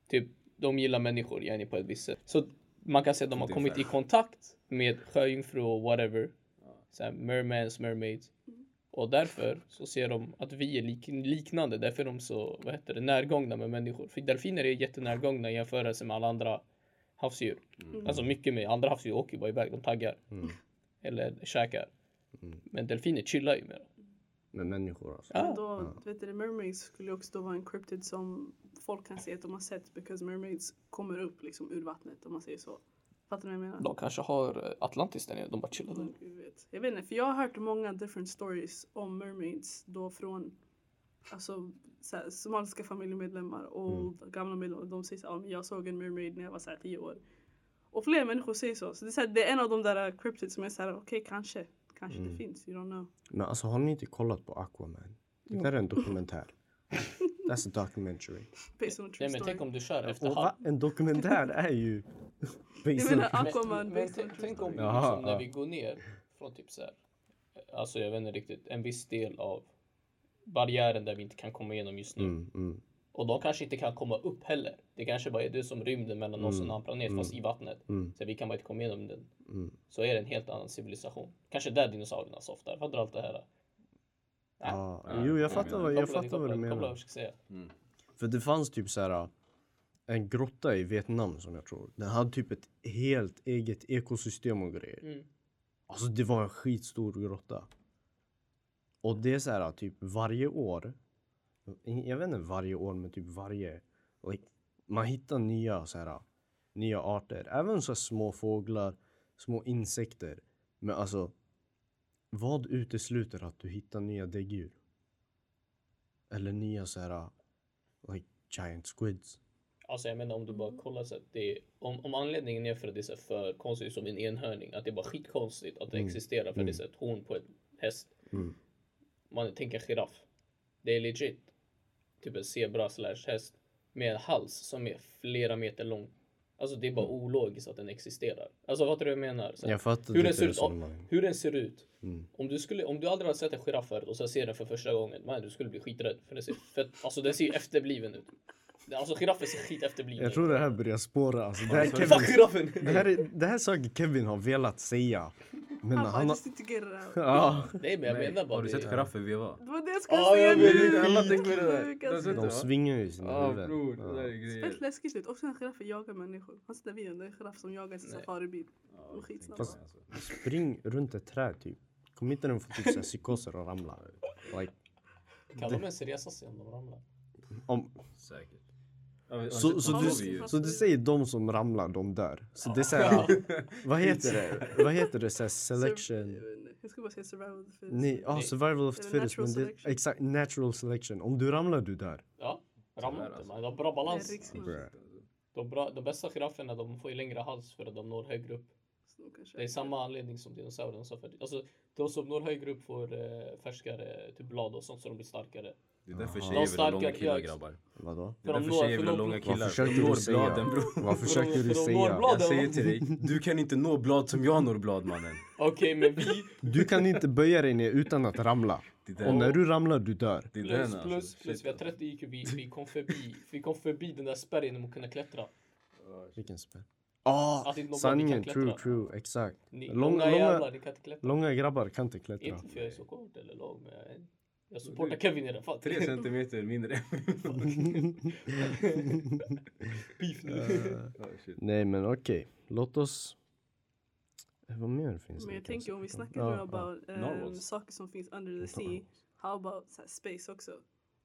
Speaker 3: Typ, de gillar människor, gärna på ett visst sätt. Så man kan säga att de har
Speaker 2: Det är
Speaker 3: kommit i
Speaker 2: fair.
Speaker 3: kontakt med sjöjungfru och whatever. Så här, mermans, mermaids. Och därför så ser de att vi är lik, liknande, därför är de så, vad heter det, närgångna med människor. För delfiner är jättenärgångna i jämförelse med alla andra havsdjur. Alltså mycket med andra havsdjur åker ju bara iväg, de taggar.
Speaker 2: Mm.
Speaker 3: Eller käkar.
Speaker 4: Mm.
Speaker 3: Men delfiner chillar ju mer.
Speaker 4: Med människor alltså.
Speaker 5: Men
Speaker 3: Ah,
Speaker 5: då, vet du, mermaids skulle ju också då vara en cryptid som folk kan se att de har sett because mermaids kommer upp liksom ur vattnet om man säger så. Fattar ni vad jag menar?
Speaker 3: de kanske har eh, Atlantis där nere, de bara chillar där.
Speaker 5: Mm, Gud vet. Jag vet inte, för jag har hört många different stories om mermaids då från alltså, så här, somaliska familjemedlemmar och
Speaker 4: Mm.
Speaker 5: gamla medlemmar. De säger så här, "Ja, men jag såg en mermaid när jag var så här, tio år. Och fler människor säger så. Så det är, så här, det är en av de där äh, cryptids som är så här, okej kanske, kanske
Speaker 4: Mm.
Speaker 5: det finns, you don't know.
Speaker 4: Men alltså har ni inte kollat på Aquaman? Det där är en dokumentär. That's a documentary.
Speaker 5: Based on a true
Speaker 3: Nej men
Speaker 5: story.
Speaker 3: tänk om du kör efter
Speaker 4: Och
Speaker 3: halv...
Speaker 4: va? En dokumentär är ju...
Speaker 5: Jag
Speaker 4: [laughs]
Speaker 5: menar
Speaker 4: Basically.
Speaker 5: Aquaman
Speaker 3: Men, men
Speaker 5: based on
Speaker 3: tänk,
Speaker 5: a true
Speaker 3: tänk om
Speaker 5: story.
Speaker 4: story. Jaha,
Speaker 3: liksom, när
Speaker 4: ja.
Speaker 3: vi går ner från typ så här, alltså jag vet inte riktigt, en viss del av barriären där vi inte kan komma igenom just nu.
Speaker 4: Mm, mm.
Speaker 3: Och de kanske inte kan komma upp heller. Det kanske bara är det som rymden mellan oss och
Speaker 4: Mm.
Speaker 3: en annan planet fast i vattnet. Så vi kan bara inte komma igenom den. Så är det en helt annan civilisation. Kanske där dinosaurierna softar. Fattar du allt det här?
Speaker 4: Ja. Jo, jag fattar, vad, jag
Speaker 3: Koppla,
Speaker 4: fattar vad
Speaker 3: koppla,
Speaker 4: du
Speaker 3: koppla,
Speaker 4: menar.
Speaker 3: jag ska säga.
Speaker 2: Mm.
Speaker 4: För det fanns typ så här en grotta i Vietnam som jag tror. Den hade typ ett helt eget ekosystem och grejer.
Speaker 3: Mm.
Speaker 4: Alltså det var en skitstor grotta. Och det är så här typ varje år. Jag vet inte varje år men typ varje. Like, man hittar nya så här nya arter. Även så här små fåglar, små insekter. Men alltså vad utesluter att du hittar nya däggdjur? Eller nya så här like giant squids.
Speaker 3: Alltså jag menar om du bara kollar så att det är, om, om anledningen är för att det är så här för konstigt som en enhörning, att det är bara skitkonstigt att det
Speaker 4: Mm.
Speaker 3: existerar för det är så här ett horn på ett häst. Man tänker giraff. Det är legit. Typ en zebra slash häst med en hals som är flera meter lång. Alltså det är
Speaker 4: Mm.
Speaker 3: bara ologiskt att den existerar. Alltså vad tror du jag menar? Så här,
Speaker 4: Jag fattar typ Mm.
Speaker 3: hur, den
Speaker 4: ditt
Speaker 3: ser ut,
Speaker 4: resonemang.
Speaker 3: hur den ser ut. Om, du skulle, om du aldrig har sett en giraff förut och sen ser den för första gången, man, du skulle bli skiträdd. För den ser fett, alltså den ser ju efterbliven ut. Alltså giraffer ser skit efterbliven
Speaker 4: Jag
Speaker 3: ut.
Speaker 4: tror det här börjar spåra. Alltså, det, här
Speaker 3: Fuck
Speaker 4: Kevin,
Speaker 3: giraffen!
Speaker 4: det, här är, det här är saker Kevin har velat säga. Men
Speaker 5: Han bara, I
Speaker 4: han har...
Speaker 5: just need to get it out.
Speaker 4: Ja.
Speaker 3: Nej men jag menar bara
Speaker 2: Har du
Speaker 3: det.
Speaker 2: sett giraffer veva?
Speaker 5: Det var det jag skulle
Speaker 3: Ja,
Speaker 5: säga
Speaker 3: jag vet inte,
Speaker 5: nu!
Speaker 2: alla tänker på det där.
Speaker 5: Sjukaste.
Speaker 2: De ser
Speaker 4: De svingar ju sina
Speaker 2: Ja bror,
Speaker 4: huvuden.
Speaker 2: det där är
Speaker 5: Fett
Speaker 2: grejer.
Speaker 5: läskigt ut. Också när giraffer jagar människor. Har du sett den videon? Det är en giraff som jagar sin safaribil. De är skitsnabba.
Speaker 4: Fast-
Speaker 2: alltså,
Speaker 4: Spring runt ett träd typ. Kom inte den få typ såhär psykoser och ramla. Like,
Speaker 3: Kan de ens resa sig om de ramlar?
Speaker 4: om,
Speaker 2: Säkert. Ja, men-
Speaker 4: så,
Speaker 2: har
Speaker 4: så,
Speaker 2: ni
Speaker 4: du,
Speaker 2: sett- har vi ju-
Speaker 4: så du säger de som ramlar, de dör. Så det är såhär, vad heter det? Vad heter det? Såhär selection? ah.
Speaker 5: Sur- eh, Jag skulle bara säga survival of the fittest.
Speaker 4: Nej, ja survival of the
Speaker 5: Eller
Speaker 4: fittest.
Speaker 5: natural
Speaker 4: Men det,
Speaker 5: selection.
Speaker 4: exakt, natural selection. Om du ramlar, du dör.
Speaker 3: Ja, ramlar inte
Speaker 2: alltså.
Speaker 3: men de har bra
Speaker 5: Det är
Speaker 3: balans.
Speaker 5: riksnorm.
Speaker 3: De, bra, de bästa girafferna de får ju längre hals för att de når högre upp.
Speaker 5: Så de kanske
Speaker 3: Det är samma anledning som dinosaurierna sa förut. Alltså, de som når högre upp får eh, färskare typ blad och sånt så de blir starkare.
Speaker 2: Det är därför
Speaker 4: Jaha.
Speaker 2: tjejer
Speaker 3: De
Speaker 2: vill ha långa
Speaker 3: starka
Speaker 2: killar
Speaker 3: jag-
Speaker 2: grabbar.
Speaker 4: Vadå?
Speaker 2: Det är
Speaker 3: För de
Speaker 2: därför
Speaker 3: når-
Speaker 2: tjejer
Speaker 3: för
Speaker 2: vill ha
Speaker 3: de-
Speaker 2: långa
Speaker 3: Vad
Speaker 2: killar.
Speaker 4: försökte
Speaker 2: De
Speaker 4: du
Speaker 2: når
Speaker 4: säga?
Speaker 2: bladen bror.
Speaker 4: Vad försökte
Speaker 3: de
Speaker 4: du säga?
Speaker 3: norrbladen.
Speaker 2: Jag säger till dig, du kan inte nå blad som jag når blad mannen.
Speaker 3: Okej, men vi
Speaker 4: Du kan inte böja dig ner utan att ramla.
Speaker 2: Det är
Speaker 4: Och
Speaker 2: den,
Speaker 4: när du ramlar, du dör.
Speaker 2: det är den
Speaker 3: plus,
Speaker 2: alltså.
Speaker 3: plus, plus,
Speaker 2: Shit,
Speaker 3: vi har 30 IQ, vi, vi, kom förbi, vi kom förbi den där spärren om att kunna klättra.
Speaker 2: Ah,
Speaker 4: Vilken spel. Ah,
Speaker 3: Att inte någon
Speaker 4: sanningen.
Speaker 3: kan klättra.
Speaker 4: True, true. Exakt.
Speaker 3: Ni,
Speaker 4: Lång-
Speaker 3: långa,
Speaker 4: långa-
Speaker 3: jävlar, ni kan inte klättra.
Speaker 4: Långa grabbar kan inte klättra.
Speaker 3: Inte för jag är så kort eller lång, men jag, är- jag supportar Kevin i alla fall.
Speaker 2: Tre centimeter mindre.
Speaker 3: Beef nu.
Speaker 4: [laughs]
Speaker 2: Ja, shit.
Speaker 4: [laughs] Nej, men okej. Låt oss... Eh, Vad mer finns det?
Speaker 5: Men jag
Speaker 4: kanske?
Speaker 5: tänker om vi snackar
Speaker 4: Ja,
Speaker 5: nu
Speaker 4: ja.
Speaker 5: about ehm,
Speaker 2: Narwhals.
Speaker 5: saker som finns under the sea. How about så här, space också?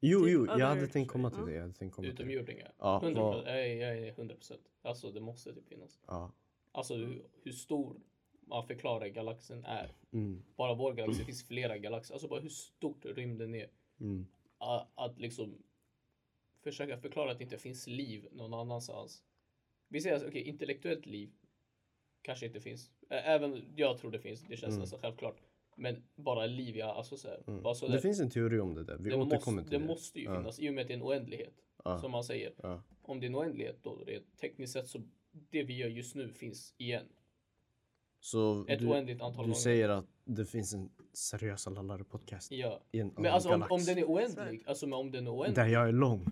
Speaker 4: Jo,
Speaker 5: typ
Speaker 4: jo. Jag hade
Speaker 5: other-
Speaker 4: tänkt komma till
Speaker 5: ja.
Speaker 4: det. Jag hade tänkt komma till det.
Speaker 3: [laughs] Utomjordingar.
Speaker 2: Ah,
Speaker 4: Ja,
Speaker 3: 100
Speaker 4: vad-
Speaker 3: Jag är- jag är 100 procent. Alltså det måste typ finnas.
Speaker 4: Ja.
Speaker 3: Alltså hur, hur stor man förklarar galaxen är.
Speaker 4: Mm,
Speaker 3: Bara vår galax, det finns flera galaxer. Alltså bara hur stort rymden är.
Speaker 4: mm.
Speaker 3: A- Att liksom försöka förklara att det inte finns liv någon annanstans. Vi säger alltså, okej, intellektuellt liv kanske inte finns. Ä- Även jag tror det finns, det känns
Speaker 4: Mm.
Speaker 3: nästan självklart. Men bara liv, ja, alltså så här. Bara så
Speaker 4: Det finns en teori om det där. Vi
Speaker 3: det
Speaker 4: återkommer
Speaker 3: måste,
Speaker 4: till det.
Speaker 3: det måste ju
Speaker 4: Ja.
Speaker 3: finnas i och med att det är en oändlighet.
Speaker 4: Ja.
Speaker 3: Som man säger.
Speaker 4: Ja.
Speaker 3: Om det är en oändlighet då rent tekniskt sett så det vi gör just nu finns igen.
Speaker 4: Så
Speaker 3: Ett
Speaker 4: du,
Speaker 3: oändligt antal
Speaker 4: du
Speaker 3: gånger.
Speaker 4: säger att det finns en seriösa lallare podcast
Speaker 3: Ja.
Speaker 4: i en
Speaker 3: Men
Speaker 4: annan
Speaker 3: alltså om,
Speaker 4: galax.
Speaker 3: om den är oändlig, alltså men om den är oändlig,
Speaker 4: Där jag är lång.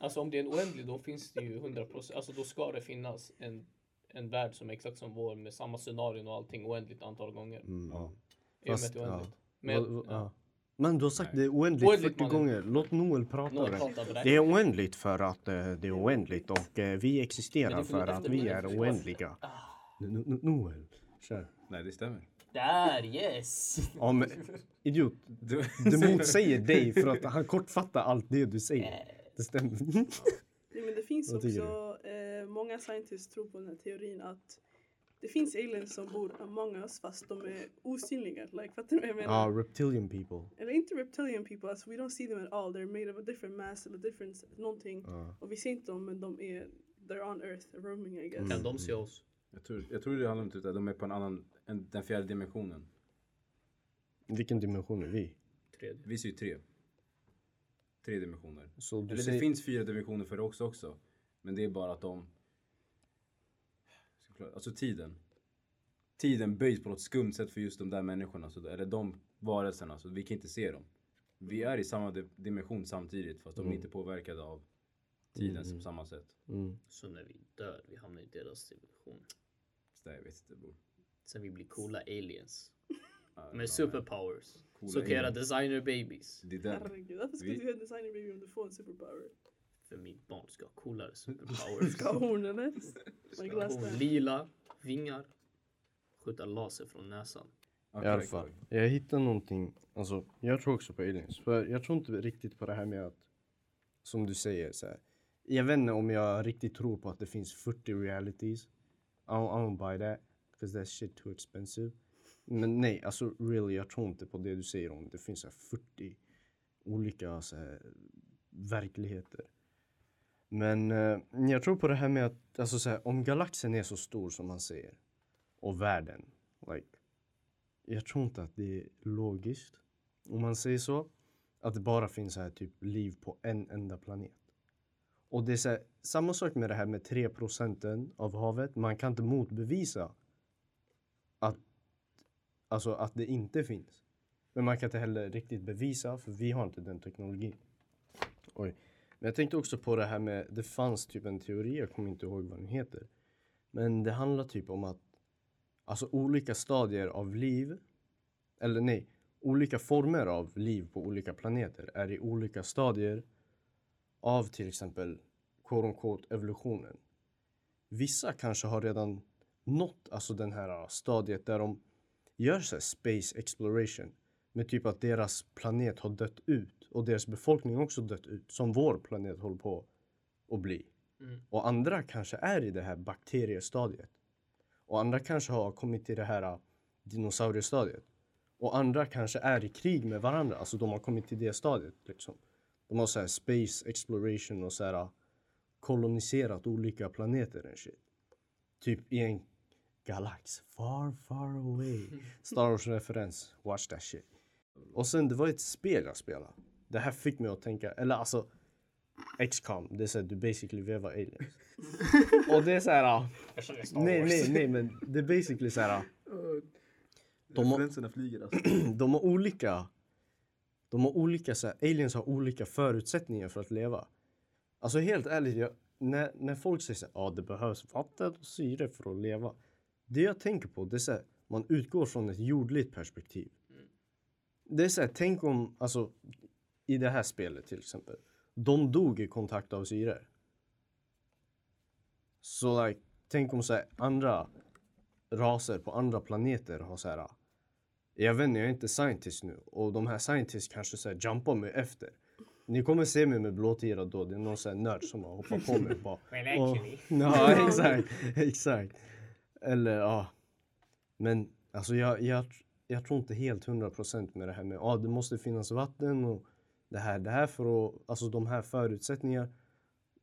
Speaker 3: alltså om det är en oändlig då finns det ju 100%, alltså då ska det finnas en, en värld som är exakt som vår med samma scenarion och allting oändligt antal gånger.
Speaker 4: Mm.
Speaker 2: Ja.
Speaker 3: I och med
Speaker 4: Fast,
Speaker 3: att det är oändligt.
Speaker 4: ja.
Speaker 3: Men,
Speaker 4: Vad- vad-
Speaker 3: ja.
Speaker 4: ja. Men du har sagt det är oändligt
Speaker 3: Oändligt,
Speaker 4: 40
Speaker 3: mannen.
Speaker 4: gånger. Låt Noel prata.
Speaker 3: Noel
Speaker 4: det.
Speaker 3: pratar med dig.
Speaker 4: det är oändligt för att eh, det är oändligt och eh, vi
Speaker 3: Men
Speaker 4: existerar
Speaker 3: du får
Speaker 4: för
Speaker 3: lite
Speaker 4: att vi är
Speaker 3: efterblivet.
Speaker 4: oändliga.
Speaker 3: Ah,
Speaker 4: No- no- no- Noel, kör.
Speaker 2: Nej det stämmer.
Speaker 3: Där, yes!
Speaker 4: Ja, men, idiot, [laughs]
Speaker 2: Du,
Speaker 4: du motsäger dig för att han kortfattar allt det du
Speaker 3: Eh.
Speaker 4: säger. Det
Speaker 3: [laughs]
Speaker 4: stämmer.
Speaker 5: Nej, men det finns
Speaker 4: Vad tycker
Speaker 5: också, eh, många scientists tror på den här teorin att det finns aliens som bor among us fast de är osynliga. Like, fattar du vad jag menar?
Speaker 4: Ja, reptilian people.
Speaker 5: Eller inte reptilian people, alltså we don't see them at all. They're made of a different mass eller different någonting.
Speaker 4: Ja.
Speaker 5: Och vi ser inte dem men de är, they're on earth, roaming I guess.
Speaker 4: Mm.
Speaker 3: Kan de se oss?
Speaker 2: [laughs] jag, tror, jag tror det handlar om typ att de är på en annan, en, den fjärde dimensionen.
Speaker 4: Vilken dimension är vi?
Speaker 3: Tredje.
Speaker 2: Vi ser ju tre. Tre dimensioner.
Speaker 4: Så du
Speaker 2: Eller det
Speaker 4: säger-
Speaker 2: finns fyra dimensioner för det också också. Men det är bara att de... Ska förklara- Alltså tiden. Tiden böjs på något skumt sätt för just de där människorna. Så, eller de varelserna. Så vi kan inte se dem. Vi är i samma di- dimension samtidigt fast de är inte påverkade av tiden på samma sätt.
Speaker 4: Mm.
Speaker 3: Så när vi dör, vi hamnar i deras division.
Speaker 2: Så där, jag vet inte bror.
Speaker 3: Sen vi blir coola aliens.
Speaker 2: Ja,
Speaker 3: Med superpowers.
Speaker 2: Coola
Speaker 3: så kan jag göra
Speaker 2: aliens.
Speaker 3: designer babies.
Speaker 2: Det är den.
Speaker 5: Herregud, varför skulle
Speaker 2: Vi-
Speaker 5: du göra designer baby om du får en superpower?
Speaker 3: För mitt barn ska ha coolare superpowers.
Speaker 5: Ska ha hornen ens? Like last
Speaker 3: Hon
Speaker 5: time.
Speaker 3: lila, vingar, skjuta laser från näsan.
Speaker 2: Ja,
Speaker 4: I alla
Speaker 2: korrekt,
Speaker 4: fall.
Speaker 2: korrekt.
Speaker 4: Jag hittade någonting. Alltså, jag tror också på aliens. För jag tror inte riktigt på det här med att, som du säger, så här, jag vet inte om jag riktigt tror på att det finns 40 realities. I don't, I don't buy that, because that shit too expensive. Men nej, alltså really, jag tror inte på det du säger om det finns så här, 40 olika så här, verkligheter. Men eh, jag tror på det här med att, alltså så här, om galaxen är så stor som man säger, och världen, like, jag tror inte att det är logiskt, om man säger så, att det bara finns så här typ liv på en enda planet. Och det är så här, samma sak med det här med 3 procenten av havet. Man kan inte motbevisa att, alltså att det inte finns. Men man kan inte heller riktigt bevisa för vi har inte den teknologin. Oj. Men jag tänkte också på det här med, det fanns typ en teori, jag kommer inte ihåg vad den heter. Men det handlar typ om att alltså olika stadier av liv, eller nej, olika former av liv på olika planeter är i olika stadier av till exempel quote unquote evolutionen. Vissa kanske har redan nått alltså den här stadiet där de gör så här space exploration med typ att deras planet har dött ut och deras befolkning också dött ut som vår planet håller på att bli.
Speaker 3: Mm.
Speaker 4: Och andra kanske är i det här bakteriestadiet. Och andra kanske har kommit till det här äh, dinosauriestadiet. Och andra kanske är i krig med varandra. Alltså de har kommit till det stadiet liksom. De har så här space exploration och så här äh, koloniserat olika planeter och shit. Typ i en galax far far away. Star Wars referens, watch that shit. Och sen det var ett spel jag spelade. Det här fick mig att tänka, eller alltså X-com, det är såhär du basically vevar aliens. och det är såhär, ja, nej nej nej men det är basically såhär ja, De har-
Speaker 2: Referenserna flyger alltså.
Speaker 4: [clears throat] de har olika... De har olika så här, aliens har olika förutsättningar för att leva. Alltså helt ärligt, jag, när, när folk säger så här, ah, det behövs vatten och syre för att leva. Det jag tänker på, det är så här, man utgår från ett jordligt perspektiv. Det är så här, tänk om, alltså i det här spelet till exempel, de dog i kontakt av syre. Så like, tänk om så här, andra raser på andra planeter har så här, jag vet inte, jag är inte scientist nu. Och de här scientists kanske så här, jumpar mig efter. Ni kommer se mig med blåtira då. Det är någon sån här nörd som har hoppat på mig. och Bara,
Speaker 7: Well,
Speaker 4: "Åh."
Speaker 7: actually.
Speaker 2: [laughs]
Speaker 4: Ja, exakt. exakt. Eller ja. Men alltså jag, jag, jag tror inte helt hundra procent med det här med ja, det måste finnas vatten och det här, det här för att, alltså de här förutsättningarna.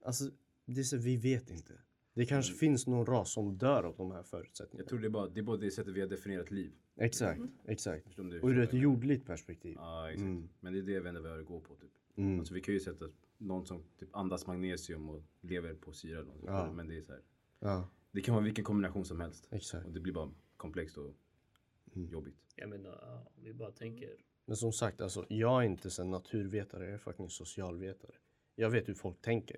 Speaker 4: Alltså, det är så, vi vet inte. Det kanske finns någon ras som dör av
Speaker 2: Mm. Jag
Speaker 4: de här
Speaker 2: Mm.
Speaker 4: förutsättningarna.
Speaker 2: tror det är bara det, är bara det sättet vi har definierat liv.
Speaker 4: Exakt, exakt.
Speaker 2: Förstår du?
Speaker 4: Och ur ett jordligt perspektiv.
Speaker 2: Ja, exakt.
Speaker 4: Mm.
Speaker 2: Men det är det vi ändå behöver gå på typ.
Speaker 4: Mm.
Speaker 2: Alltså vi kan ju sätta någon som typ andas magnesium och lever på syra eller något.
Speaker 4: Ja.
Speaker 2: Men det är så här.
Speaker 4: Ja,
Speaker 2: Det kan vara vilken kombination som helst.
Speaker 4: exakt.
Speaker 2: Och det blir bara komplext och
Speaker 4: Mm.
Speaker 2: jobbigt.
Speaker 3: Jag menar, ja, om vi bara tänker.
Speaker 4: Men som sagt, alltså, jag är inte så här naturvetare, jag är fucking socialvetare. Jag vet hur folk tänker.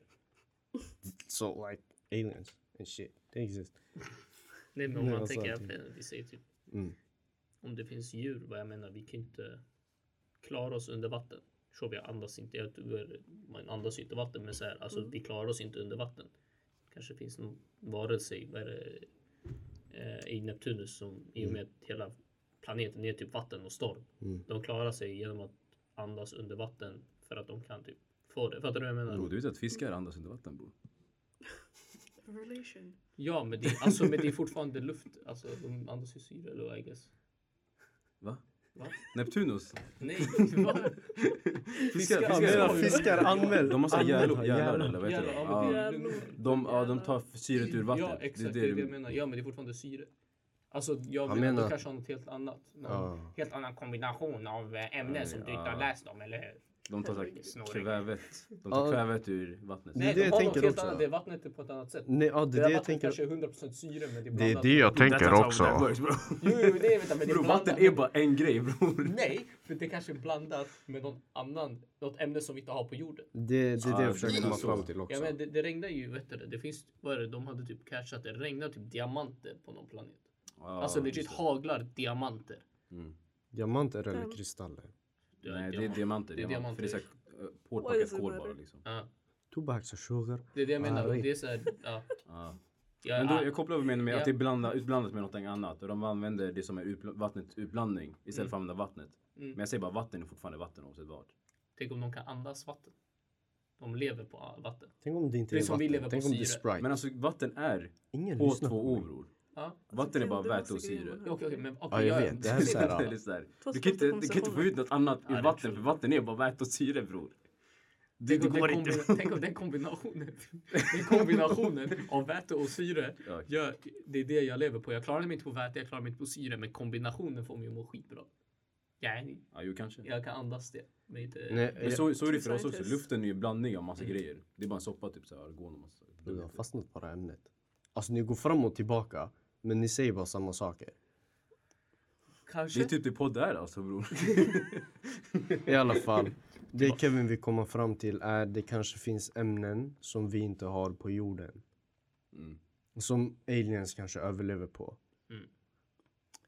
Speaker 4: So like aliens and shit, they exist.
Speaker 3: Nej, men om
Speaker 4: Nej,
Speaker 3: man
Speaker 4: vad sa
Speaker 3: tänker
Speaker 4: jag
Speaker 3: att eh, vi säger typ
Speaker 4: Mm.
Speaker 3: om det finns djur, vad jag menar, vi kan ju inte klara oss under vatten. Så vi andas inte, jag tror- man andas ju inte vatten, men så här, alltså vi klarar oss inte under vatten. Kanske finns någon varelse i, vad är det, eh, i Neptunus som i och med att hela planeten är typ vatten och storm.
Speaker 4: Mm.
Speaker 3: De klarar sig genom att andas under vatten för att de kan typ få det. Fattar du vad jag menar?
Speaker 2: Bro, du vet att fiskar andas under vatten bro.
Speaker 5: Relation.
Speaker 3: Ja, men det, alltså, men det är fortfarande luft. Alltså, de andas ju syre eller vad, I guess.
Speaker 2: Va?
Speaker 3: Va?
Speaker 2: Neptunus?
Speaker 3: Nej, [laughs] vad?
Speaker 2: Fiskar,
Speaker 4: Mera
Speaker 2: fiskar.
Speaker 4: fiskar anmäl!
Speaker 2: De har såhär
Speaker 4: anmäl-
Speaker 2: hjärlor, hjärlor
Speaker 4: hjärlor.
Speaker 2: eller vad heter det?
Speaker 3: Jävlar, ja, men det
Speaker 2: Ja.
Speaker 3: är lugnt.
Speaker 2: De, ja, de tar syret ur vattnet.
Speaker 3: Ja, exakt.
Speaker 2: det
Speaker 3: Det
Speaker 2: är
Speaker 3: är det jag menar. Ja, men det är fortfarande syre. Alltså, jag
Speaker 4: Han
Speaker 3: menar,
Speaker 4: menar-
Speaker 3: du kanske har något helt annat. Någon
Speaker 4: Ja.
Speaker 3: helt annan kombination av eh, ämnen som du inte
Speaker 2: ja.
Speaker 3: har läst om, eller hur?
Speaker 2: De tar
Speaker 3: Snorig.
Speaker 2: såhär kvävet. De tar
Speaker 4: Ja.
Speaker 2: kvävet ur vattnet.
Speaker 4: Nej, det
Speaker 3: de
Speaker 4: jag
Speaker 3: har
Speaker 4: tänker
Speaker 3: något helt
Speaker 4: också.
Speaker 3: annat. Det är vattnet är på ett annat sätt.
Speaker 4: Nej, ja, det
Speaker 3: Det
Speaker 4: är det
Speaker 3: där
Speaker 4: jag
Speaker 3: vattnet
Speaker 4: tänker.
Speaker 3: kanske är 100% syre, men det är
Speaker 8: Det är
Speaker 3: blandat.
Speaker 8: det jag tänker
Speaker 2: That's how that
Speaker 8: också.
Speaker 2: works, [laughs] bro.
Speaker 3: Jo, jo, nej, vänta, men det är
Speaker 2: Bro,
Speaker 3: blandat.
Speaker 2: vatten är bara en grej bror.
Speaker 3: Nej, för det kanske är blandat med någon annan, något ämne som vi inte har på jorden.
Speaker 4: Det, det är
Speaker 2: Ja,
Speaker 4: det jag försöker
Speaker 2: det är
Speaker 4: komma
Speaker 2: så.
Speaker 4: fram till
Speaker 3: Ja,
Speaker 4: också.
Speaker 3: men det, det regnar ju, vet du, det, det finns, vad är det, de hade typ catchat, det regnar typ diamanter på någon planet.
Speaker 2: Ja,
Speaker 3: alltså legit
Speaker 2: just det.
Speaker 3: haglar diamanter.
Speaker 4: Diamanter
Speaker 5: Mm.
Speaker 4: eller kristaller?
Speaker 3: Det är
Speaker 2: Nej, det är
Speaker 3: diamant.
Speaker 2: diamanter.
Speaker 3: Det är
Speaker 2: diamanter. För det är
Speaker 3: diamanter.
Speaker 2: såhär eh,
Speaker 5: What
Speaker 2: hårdpackat
Speaker 5: is it,
Speaker 2: kol
Speaker 5: brother?
Speaker 2: bara liksom.
Speaker 3: Ja,
Speaker 4: Tobaks och sugar.
Speaker 3: det är det jag menar.
Speaker 4: Ah,
Speaker 3: och det är så här,
Speaker 2: [laughs]
Speaker 3: ja.
Speaker 2: Ja.
Speaker 3: Jag,
Speaker 2: Men då, jag kopplar över med, med
Speaker 3: Eh, Ja.
Speaker 2: att det är blanda, utblandat med något annat och de använder det som är utbl- vattnets utblandning istället för att använda vattnet.
Speaker 3: Mm.
Speaker 2: Men jag säger bara vatten är fortfarande vatten oavsett vad.
Speaker 3: tänk om de kan andas vatten. De lever på ah, vatten.
Speaker 4: Tänk om det inte
Speaker 3: Det
Speaker 4: är,
Speaker 3: är som vi lever
Speaker 4: vatten.
Speaker 3: på
Speaker 4: Tänk om det är
Speaker 3: syre.
Speaker 4: Sprite.
Speaker 2: Men alltså vatten är
Speaker 4: Ingen lyssnar på
Speaker 2: H2O
Speaker 4: mig.
Speaker 2: bror.
Speaker 3: Ja,
Speaker 2: Vatten är bara
Speaker 5: Det var
Speaker 2: väte och
Speaker 5: säkert
Speaker 2: syre.
Speaker 5: innan.
Speaker 3: okej, okej, men okej.
Speaker 4: Ja, jag
Speaker 3: ja,
Speaker 4: vet. Det här är
Speaker 2: [laughs] Det
Speaker 4: så
Speaker 2: är
Speaker 4: här. ja.
Speaker 2: lite så här.
Speaker 5: Två
Speaker 2: Du kan inte, du kan inte få ut något annat
Speaker 3: Ja, det
Speaker 2: ur
Speaker 3: är
Speaker 2: vatten
Speaker 3: så.
Speaker 2: för vatten är bara väte och syre bror. Det, det
Speaker 3: Tänk om
Speaker 2: går
Speaker 3: den
Speaker 2: inte.
Speaker 3: kombi- Tänk om
Speaker 2: [laughs]
Speaker 3: den kombinationen, den kombinationen av väte och syre,
Speaker 2: Ja.
Speaker 3: gör, det är det jag lever på. Jag klarar mig inte på väte, jag klarar mig inte på syre, men kombinationen får mig att må skitbra. Jag,
Speaker 2: Ja, jo kanske.
Speaker 3: jag kan andas det, men inte...
Speaker 4: Nej,
Speaker 2: Men så, så är det för oss också.
Speaker 5: Scientist.
Speaker 2: Luften är ju en blandning av massa grejer. Det är bara en soppa typ såhär argon och massa
Speaker 4: Du har fastnat på det här ämnet. Alltså ni går fram och tillbaka, men ni säger bara samma saker.
Speaker 3: Kanske.
Speaker 2: Det är typ det podd är alltså bror. [laughs]
Speaker 4: I alla fall, det Kevin vill komma fram till är det kanske finns ämnen som vi inte har på jorden.
Speaker 2: Mm.
Speaker 4: Som aliens kanske överlever på.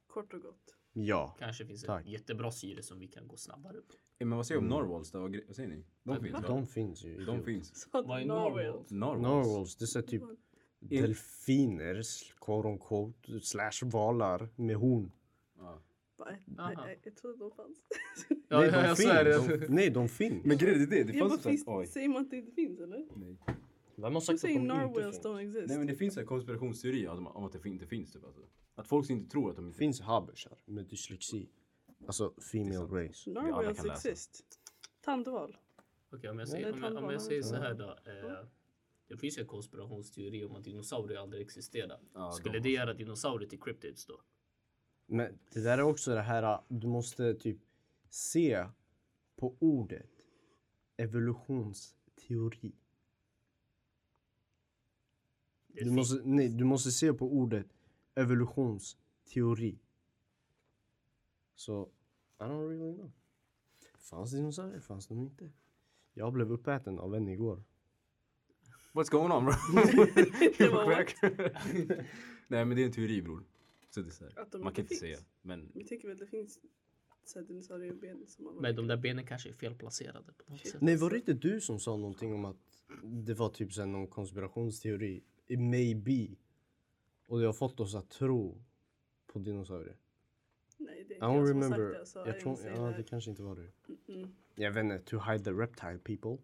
Speaker 5: Kort och gott.
Speaker 4: Ja.
Speaker 3: Kanske finns
Speaker 4: Tack.
Speaker 3: ett jättebra syre som vi kan gå snabbare på.
Speaker 2: Eh, Men vad säger du om narwhals? då? Vad gre- Vad säger ni? De finns va?
Speaker 4: De finns ju.
Speaker 2: De
Speaker 4: idiot.
Speaker 2: finns.
Speaker 5: Så att
Speaker 3: Vad är
Speaker 5: Norway.
Speaker 3: normal?
Speaker 2: Narwhals.
Speaker 4: Narwhals, det är så här typ delfiner, sl- quote on quote, slash valar med horn.
Speaker 2: Ja.
Speaker 5: Nej,
Speaker 3: Aha.
Speaker 5: nej, jag trodde de fanns.
Speaker 3: Ja,
Speaker 4: nej,
Speaker 3: ja,
Speaker 4: de
Speaker 3: jag
Speaker 4: finns.
Speaker 3: svär
Speaker 4: De, nej, de finns.
Speaker 2: Men grejen är det, det
Speaker 5: [laughs] Jag bara,
Speaker 2: fanns
Speaker 5: finns,
Speaker 2: Oj.
Speaker 5: säger man att det inte finns eller?
Speaker 4: Vem har sagt
Speaker 5: Du
Speaker 4: att de
Speaker 5: säger
Speaker 4: inte
Speaker 5: Norwales
Speaker 4: finns?
Speaker 5: don't exist.
Speaker 2: Nej men det finns en konspirationsteori om om att det fin- inte finns typ alltså. Att folk inte tror att de
Speaker 4: Det
Speaker 2: inte finns.
Speaker 4: finns habersar med dyslexi. Alltså female race.
Speaker 2: alla
Speaker 5: Norwales
Speaker 2: kan läsa.
Speaker 5: exist. Tandval.
Speaker 3: Okej, om jag
Speaker 5: Nej,
Speaker 3: säger, om jag, om jag
Speaker 5: tandvård.
Speaker 3: säger så här då. Eh, Det finns ju en konspirationsteori om att dinosaurier aldrig existerar.
Speaker 2: Ja,
Speaker 3: Skulle
Speaker 2: de
Speaker 3: det göra dinosaurier till cryptids då?
Speaker 4: Men det där är också det här, äh, du måste typ se på ordet evolutionsteori.
Speaker 3: Det
Speaker 4: Du
Speaker 3: fin-
Speaker 4: måste, nej, du måste se på ordet evolutionsteori. Så, I don't really know. Fanns dinosaurier? Fanns de inte? Jag blev uppäten av en igår.
Speaker 2: What's going [laughs] on bro?
Speaker 5: Det var
Speaker 2: Crack. [laughs] Nej men det är en teori bror. Så det är så här.
Speaker 5: Att de
Speaker 2: Man kan inte
Speaker 5: inte
Speaker 2: säga.
Speaker 5: finns.
Speaker 2: Men
Speaker 5: Vi tänker väl att det finns så här dinosaurieben som man...
Speaker 3: Men de där benen kanske är felplacerade på något sätt.
Speaker 4: Nej, var det inte du som sa någonting om att det var typ så här någon konspirationsteori? It may be. Och det har fått oss att tro på dinosaurier.
Speaker 5: Nej, det är
Speaker 4: I
Speaker 5: inte jag
Speaker 4: don't
Speaker 5: som har sagt
Speaker 4: remember.
Speaker 5: det. Så
Speaker 4: jag tror,
Speaker 5: måste
Speaker 4: ja,
Speaker 5: säga
Speaker 4: det
Speaker 5: det.
Speaker 4: kanske inte var du.
Speaker 5: Mm.
Speaker 4: Jag vet inte, to hide the reptile people.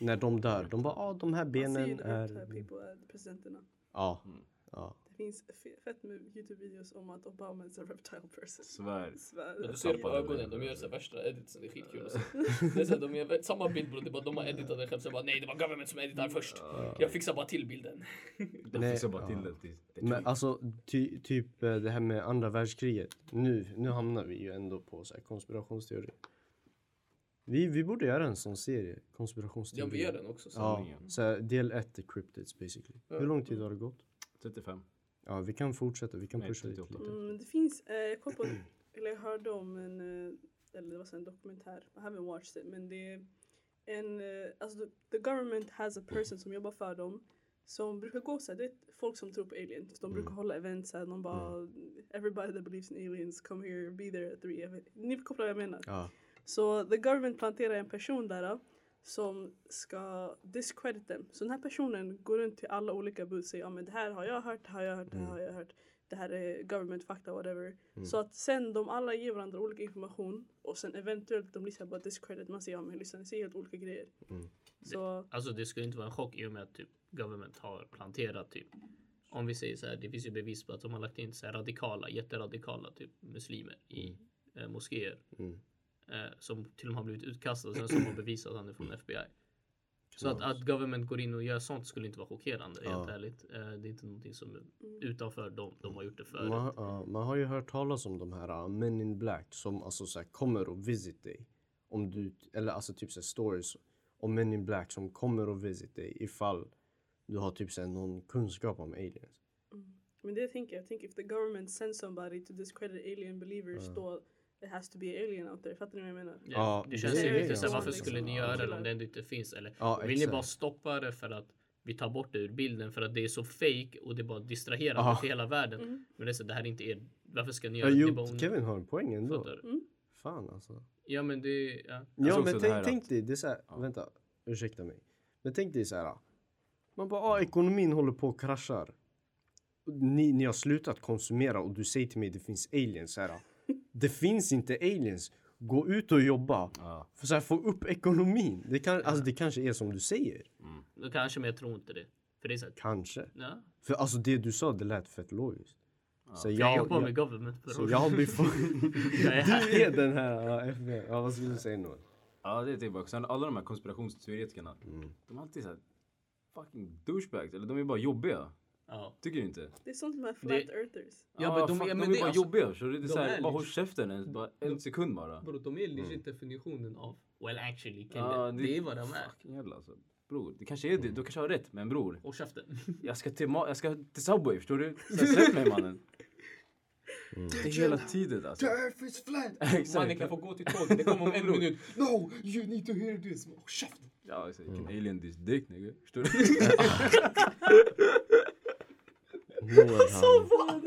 Speaker 4: När de dör, de bara ah, de här
Speaker 5: Man ser ju
Speaker 4: benen
Speaker 5: det är...
Speaker 4: är...
Speaker 5: här people är presidenterna.
Speaker 4: Ja,
Speaker 2: Mm.
Speaker 4: ja.
Speaker 5: Det finns fe- fett med Youtube-videos om att Obama is a reptile person.
Speaker 2: svär.
Speaker 5: Svär.
Speaker 2: du ser på ögonen, de gör
Speaker 3: så värsta editsen, det är skitkul att se. Det är så de gör samma bild bror, det är bara de har editat den själv, sen bara nej det var government som editade först. Jag fixar bara till bilden.
Speaker 2: De
Speaker 4: Nej,
Speaker 2: fixar bara till
Speaker 4: ja.
Speaker 2: det. till- det. är
Speaker 4: Men alltså ty, typ eh, det här med andra världskriget. Nu, nu hamnar vi ju ändå på så här konspirationsteori. Vi, vi borde göra en sån serie, konspirationsteori.
Speaker 3: Ja vi gör den också. Så.
Speaker 4: Ja,
Speaker 2: Sanningen.
Speaker 4: så här, del 1 är cryptids basically. Hur lång tid har det gått?
Speaker 2: 35.
Speaker 4: Ja, vi kan fortsätta, vi kan
Speaker 2: Nej,
Speaker 4: pusha lite.
Speaker 2: 38.
Speaker 4: lite.
Speaker 5: Mm, det finns, eh, jag kom på, [clears throat] eller jag hörde om en, eh, eller det var så en dokumentär, I haven't watched it, men det är en, eh, alltså the, the government has a person som jobbar för dem som brukar gå såhär, det är folk som tror på aliens, de
Speaker 2: Mm.
Speaker 5: brukar hålla event såhär, de bara everybody that believes in aliens come here, be there at three, jag vet- ni förstår vad jag menar.
Speaker 4: Ja.
Speaker 5: Så the government planterar en person där eh, som ska discredit dem. Så den här personen går runt till alla olika bud och säger ja men det här har jag hört, det här har jag hört, det här har jag hört. Det här är government fakta, whatever. Så att sen de alla ger varandra olika information och sen eventuellt de blir så här bara discredit. Man säger ja men lyssna ni säger helt olika grejer. Så
Speaker 3: Alltså det skulle inte vara en chock i och med att typ government har planterat typ om vi säger så här, det finns ju bevis på att de har lagt in så här radikala, jätteradikala typ muslimer i eh, moskéer.
Speaker 4: Mm.
Speaker 3: Eh, som till och med har blivit utkastade sen som har bevisat att han är från FBI. Så att, att government går in och gör sånt skulle inte vara chockerande helt ärligt. Eh, det är inte någonting som är
Speaker 5: mm.
Speaker 3: utanför dem. De har gjort det förut.
Speaker 4: Man, ja, man har ju hört talas om de här uh, Men in Black som alltså så här, kommer och visit dig. Om du, eller alltså typ så här, stories om Men in Black som kommer och visit dig ifall du har typ så här, någon kunskap om aliens.
Speaker 5: men det tänker jag. Jag tänker if the government sends somebody to discredit alien believers då it has to be an alien out there. Fattar ni vad jag menar?
Speaker 3: Ja,
Speaker 4: Ja,
Speaker 3: det känns
Speaker 5: det är
Speaker 3: ju
Speaker 5: ju
Speaker 3: lite så här, varför
Speaker 5: vanligt.
Speaker 3: skulle ni
Speaker 5: Ja,
Speaker 3: göra det
Speaker 5: killar.
Speaker 3: om det ändå inte finns? Eller
Speaker 4: Ja,
Speaker 3: vill ni
Speaker 4: exakt.
Speaker 3: bara stoppa det för att vi tar bort det ur bilden för att det är så fake och det är bara distraherande
Speaker 4: Ja.
Speaker 3: för hela världen. Men det är så, det här är inte er. Varför ska ni
Speaker 4: Ja,
Speaker 3: göra det? det? är bara
Speaker 4: jo,
Speaker 3: onödigt.
Speaker 4: Kevin har en poäng ändå.
Speaker 3: Fattar du?
Speaker 4: Fan alltså.
Speaker 3: Ja, men det ja.
Speaker 4: Ja
Speaker 2: såg
Speaker 4: men
Speaker 2: också
Speaker 4: tänk,
Speaker 2: det här
Speaker 4: tänk dig, det är så här, vänta, ursäkta mig. Men tänk dig så här. Man bara, ah, ekonomin håller på och kraschar. Ni, ni har slutat konsumera och du säger till mig det finns aliens här. [laughs] Det finns inte aliens. Gå ut och jobba.
Speaker 2: Ja.
Speaker 4: För så här, få upp ekonomin. Det, kan, alltså, det kanske är som du säger.
Speaker 3: Då kanske, men jag tror inte det. För det är så här,
Speaker 4: Kanske.
Speaker 3: ja.
Speaker 4: För alltså det du sa, det lät fett logiskt. Så
Speaker 3: Jag, jag
Speaker 4: jag,
Speaker 3: jobbar med
Speaker 4: jag,
Speaker 3: government.
Speaker 4: så jag blir
Speaker 2: [laughs]
Speaker 3: Jag är här.
Speaker 4: [laughs] Du är den här ja, FBI. Ja, vad skulle du säga Noel?
Speaker 2: Ja, det är tillbaka. Sen alla de här konspirationsteoretikerna.
Speaker 4: Mm.
Speaker 2: De är alltid så här fucking douchebags. Eller de är bara jobbiga.
Speaker 3: Ja.
Speaker 2: Tycker du inte?
Speaker 5: Det är sånt med flat earthers.
Speaker 3: Ja, men de-
Speaker 2: fuck,
Speaker 3: ja,
Speaker 2: de
Speaker 3: men
Speaker 2: är
Speaker 3: det-
Speaker 2: bara
Speaker 3: alltså,
Speaker 2: jobbiga. Så det är
Speaker 3: de
Speaker 2: så här,
Speaker 3: är
Speaker 2: bara
Speaker 3: lite-
Speaker 2: håll käften en, bara en sekund bara.
Speaker 3: Bro, de är legit definitionen av well actually kille.
Speaker 2: Ja,
Speaker 3: det, är vad de är.
Speaker 2: Fucking jävla alltså. Bror, det kanske är det. Du kanske har rätt. Men bror,
Speaker 3: Och käften.
Speaker 2: jag ska till, ma- jag ska till Subway. Förstår du? Så här, Släpp mig mannen.
Speaker 4: Mm.
Speaker 2: Det är hela tiden alltså.
Speaker 9: Earth is flat!
Speaker 3: [laughs]
Speaker 2: Exakt.
Speaker 3: Mannen kan få gå till tåget. Det kommer om en minut.
Speaker 9: No, you need to hear this! Oh, käften!
Speaker 2: Ja, exakt. You can alien this dick nigga. Förstår du?
Speaker 3: Mm.
Speaker 4: Noel han...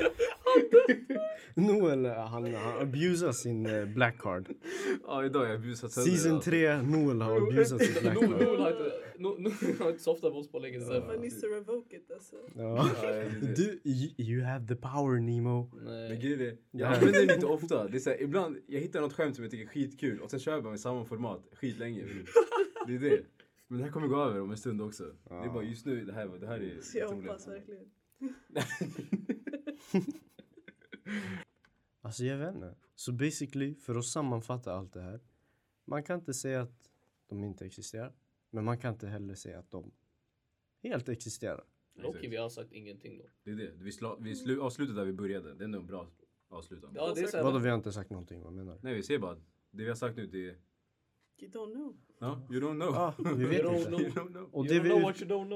Speaker 5: [laughs]
Speaker 4: Noel eh, han, han abusar sin eh, black
Speaker 3: [laughs]
Speaker 4: card.
Speaker 2: [laughs] ja, idag har jag busat sönder.
Speaker 4: Season
Speaker 2: alltså.
Speaker 4: 3, Noel har abusat sin black card.
Speaker 3: Noel har inte- No- Noel har inte softat med oss på länge sedan.
Speaker 5: Man needs to revoke it alltså.
Speaker 4: Ja.
Speaker 3: [laughs]
Speaker 2: Ja, jag vet inte.
Speaker 4: Du, you, you have the power Nemo.
Speaker 2: Men grejen är,
Speaker 4: Ja.
Speaker 2: jag använder det inte ofta. Det är så här, ibland, jag hittar något skämt som jag tycker är skitkul och sen kör jag bara med samma format skitlänge. Det är det. Men det här kommer gå över om en stund också. Det är bara just nu, det här, det här är...
Speaker 5: Så jag
Speaker 2: otroligt.
Speaker 5: hoppas verkligen.
Speaker 4: Alltså jag vet inte. Så basically, för att sammanfatta allt det här. Man kan inte säga att de inte existerar. Men man kan inte heller säga att de helt existerar.
Speaker 3: Okej, vi har sagt ingenting då.
Speaker 2: Det är det. Vi, sla, vi slu, avslutade där vi började. Det är nog en bra avslutande.
Speaker 3: Ja, det är så här,
Speaker 4: Vadå, vi har inte sagt någonting, vad menar du?
Speaker 2: Nej, vi ser bara. att Det vi har sagt nu det är...
Speaker 5: You don't know.
Speaker 2: No, you don't know.
Speaker 4: Ja, vi Ah, vet
Speaker 3: Ah, don't
Speaker 4: inte.
Speaker 2: [laughs]
Speaker 3: know.
Speaker 2: you don't know.
Speaker 4: Och
Speaker 3: you
Speaker 4: det
Speaker 3: don't
Speaker 4: vi,
Speaker 3: know what
Speaker 4: ut,
Speaker 3: you don't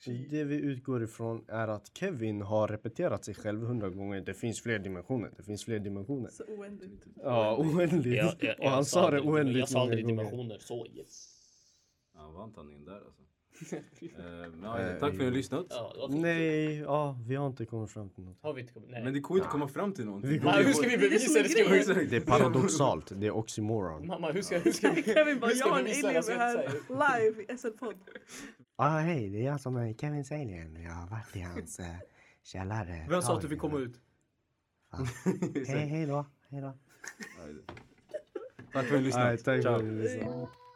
Speaker 3: know.
Speaker 4: det vi utgår ifrån är att Kevin har repeterat sig själv hundra gånger. Det finns fler dimensioner, det finns fler dimensioner.
Speaker 5: Så oändligt.
Speaker 4: Ja, oändligt.
Speaker 3: Jag, jag,
Speaker 4: Och han
Speaker 3: jag
Speaker 4: sa det
Speaker 3: aldrig- Jag
Speaker 4: oändligt
Speaker 3: sa
Speaker 4: många
Speaker 3: aldrig
Speaker 4: gånger.
Speaker 3: dimensioner, så yes.
Speaker 2: Han vann tandningen där alltså. Eh, men, ja, tack för att ni har lyssnat.
Speaker 3: Ja, det var fint.
Speaker 4: Nej, ja, vi har inte kommit fram till något.
Speaker 3: Har vi inte kommit? Nej.
Speaker 2: Men det går inte att komma fram till någonting.
Speaker 4: Vi
Speaker 3: Mamma,
Speaker 4: kommer-
Speaker 3: hur ska vi
Speaker 5: Det är det som
Speaker 3: bevisa
Speaker 5: är
Speaker 3: det? Ska vi...
Speaker 5: grejen.
Speaker 2: Exakt.
Speaker 4: Det är paradoxalt, det är oxymoron.
Speaker 3: Mamma, hur ska, hur ska vi...
Speaker 5: [laughs] Kevin bara,
Speaker 3: Hur ska
Speaker 5: jag har en
Speaker 3: vi visa
Speaker 5: alien
Speaker 3: det
Speaker 5: här live i SL-podd.
Speaker 4: Ah, hej, det är jag som är Kevin Salien. Jag har varit i hans eh, källare.
Speaker 3: Vem sa att du fick komma ut?
Speaker 4: Hej, hej då. Hej då.
Speaker 2: Tack för att ni har lyssnat.
Speaker 4: tack för
Speaker 2: Ciao.
Speaker 4: att ni lyssnade.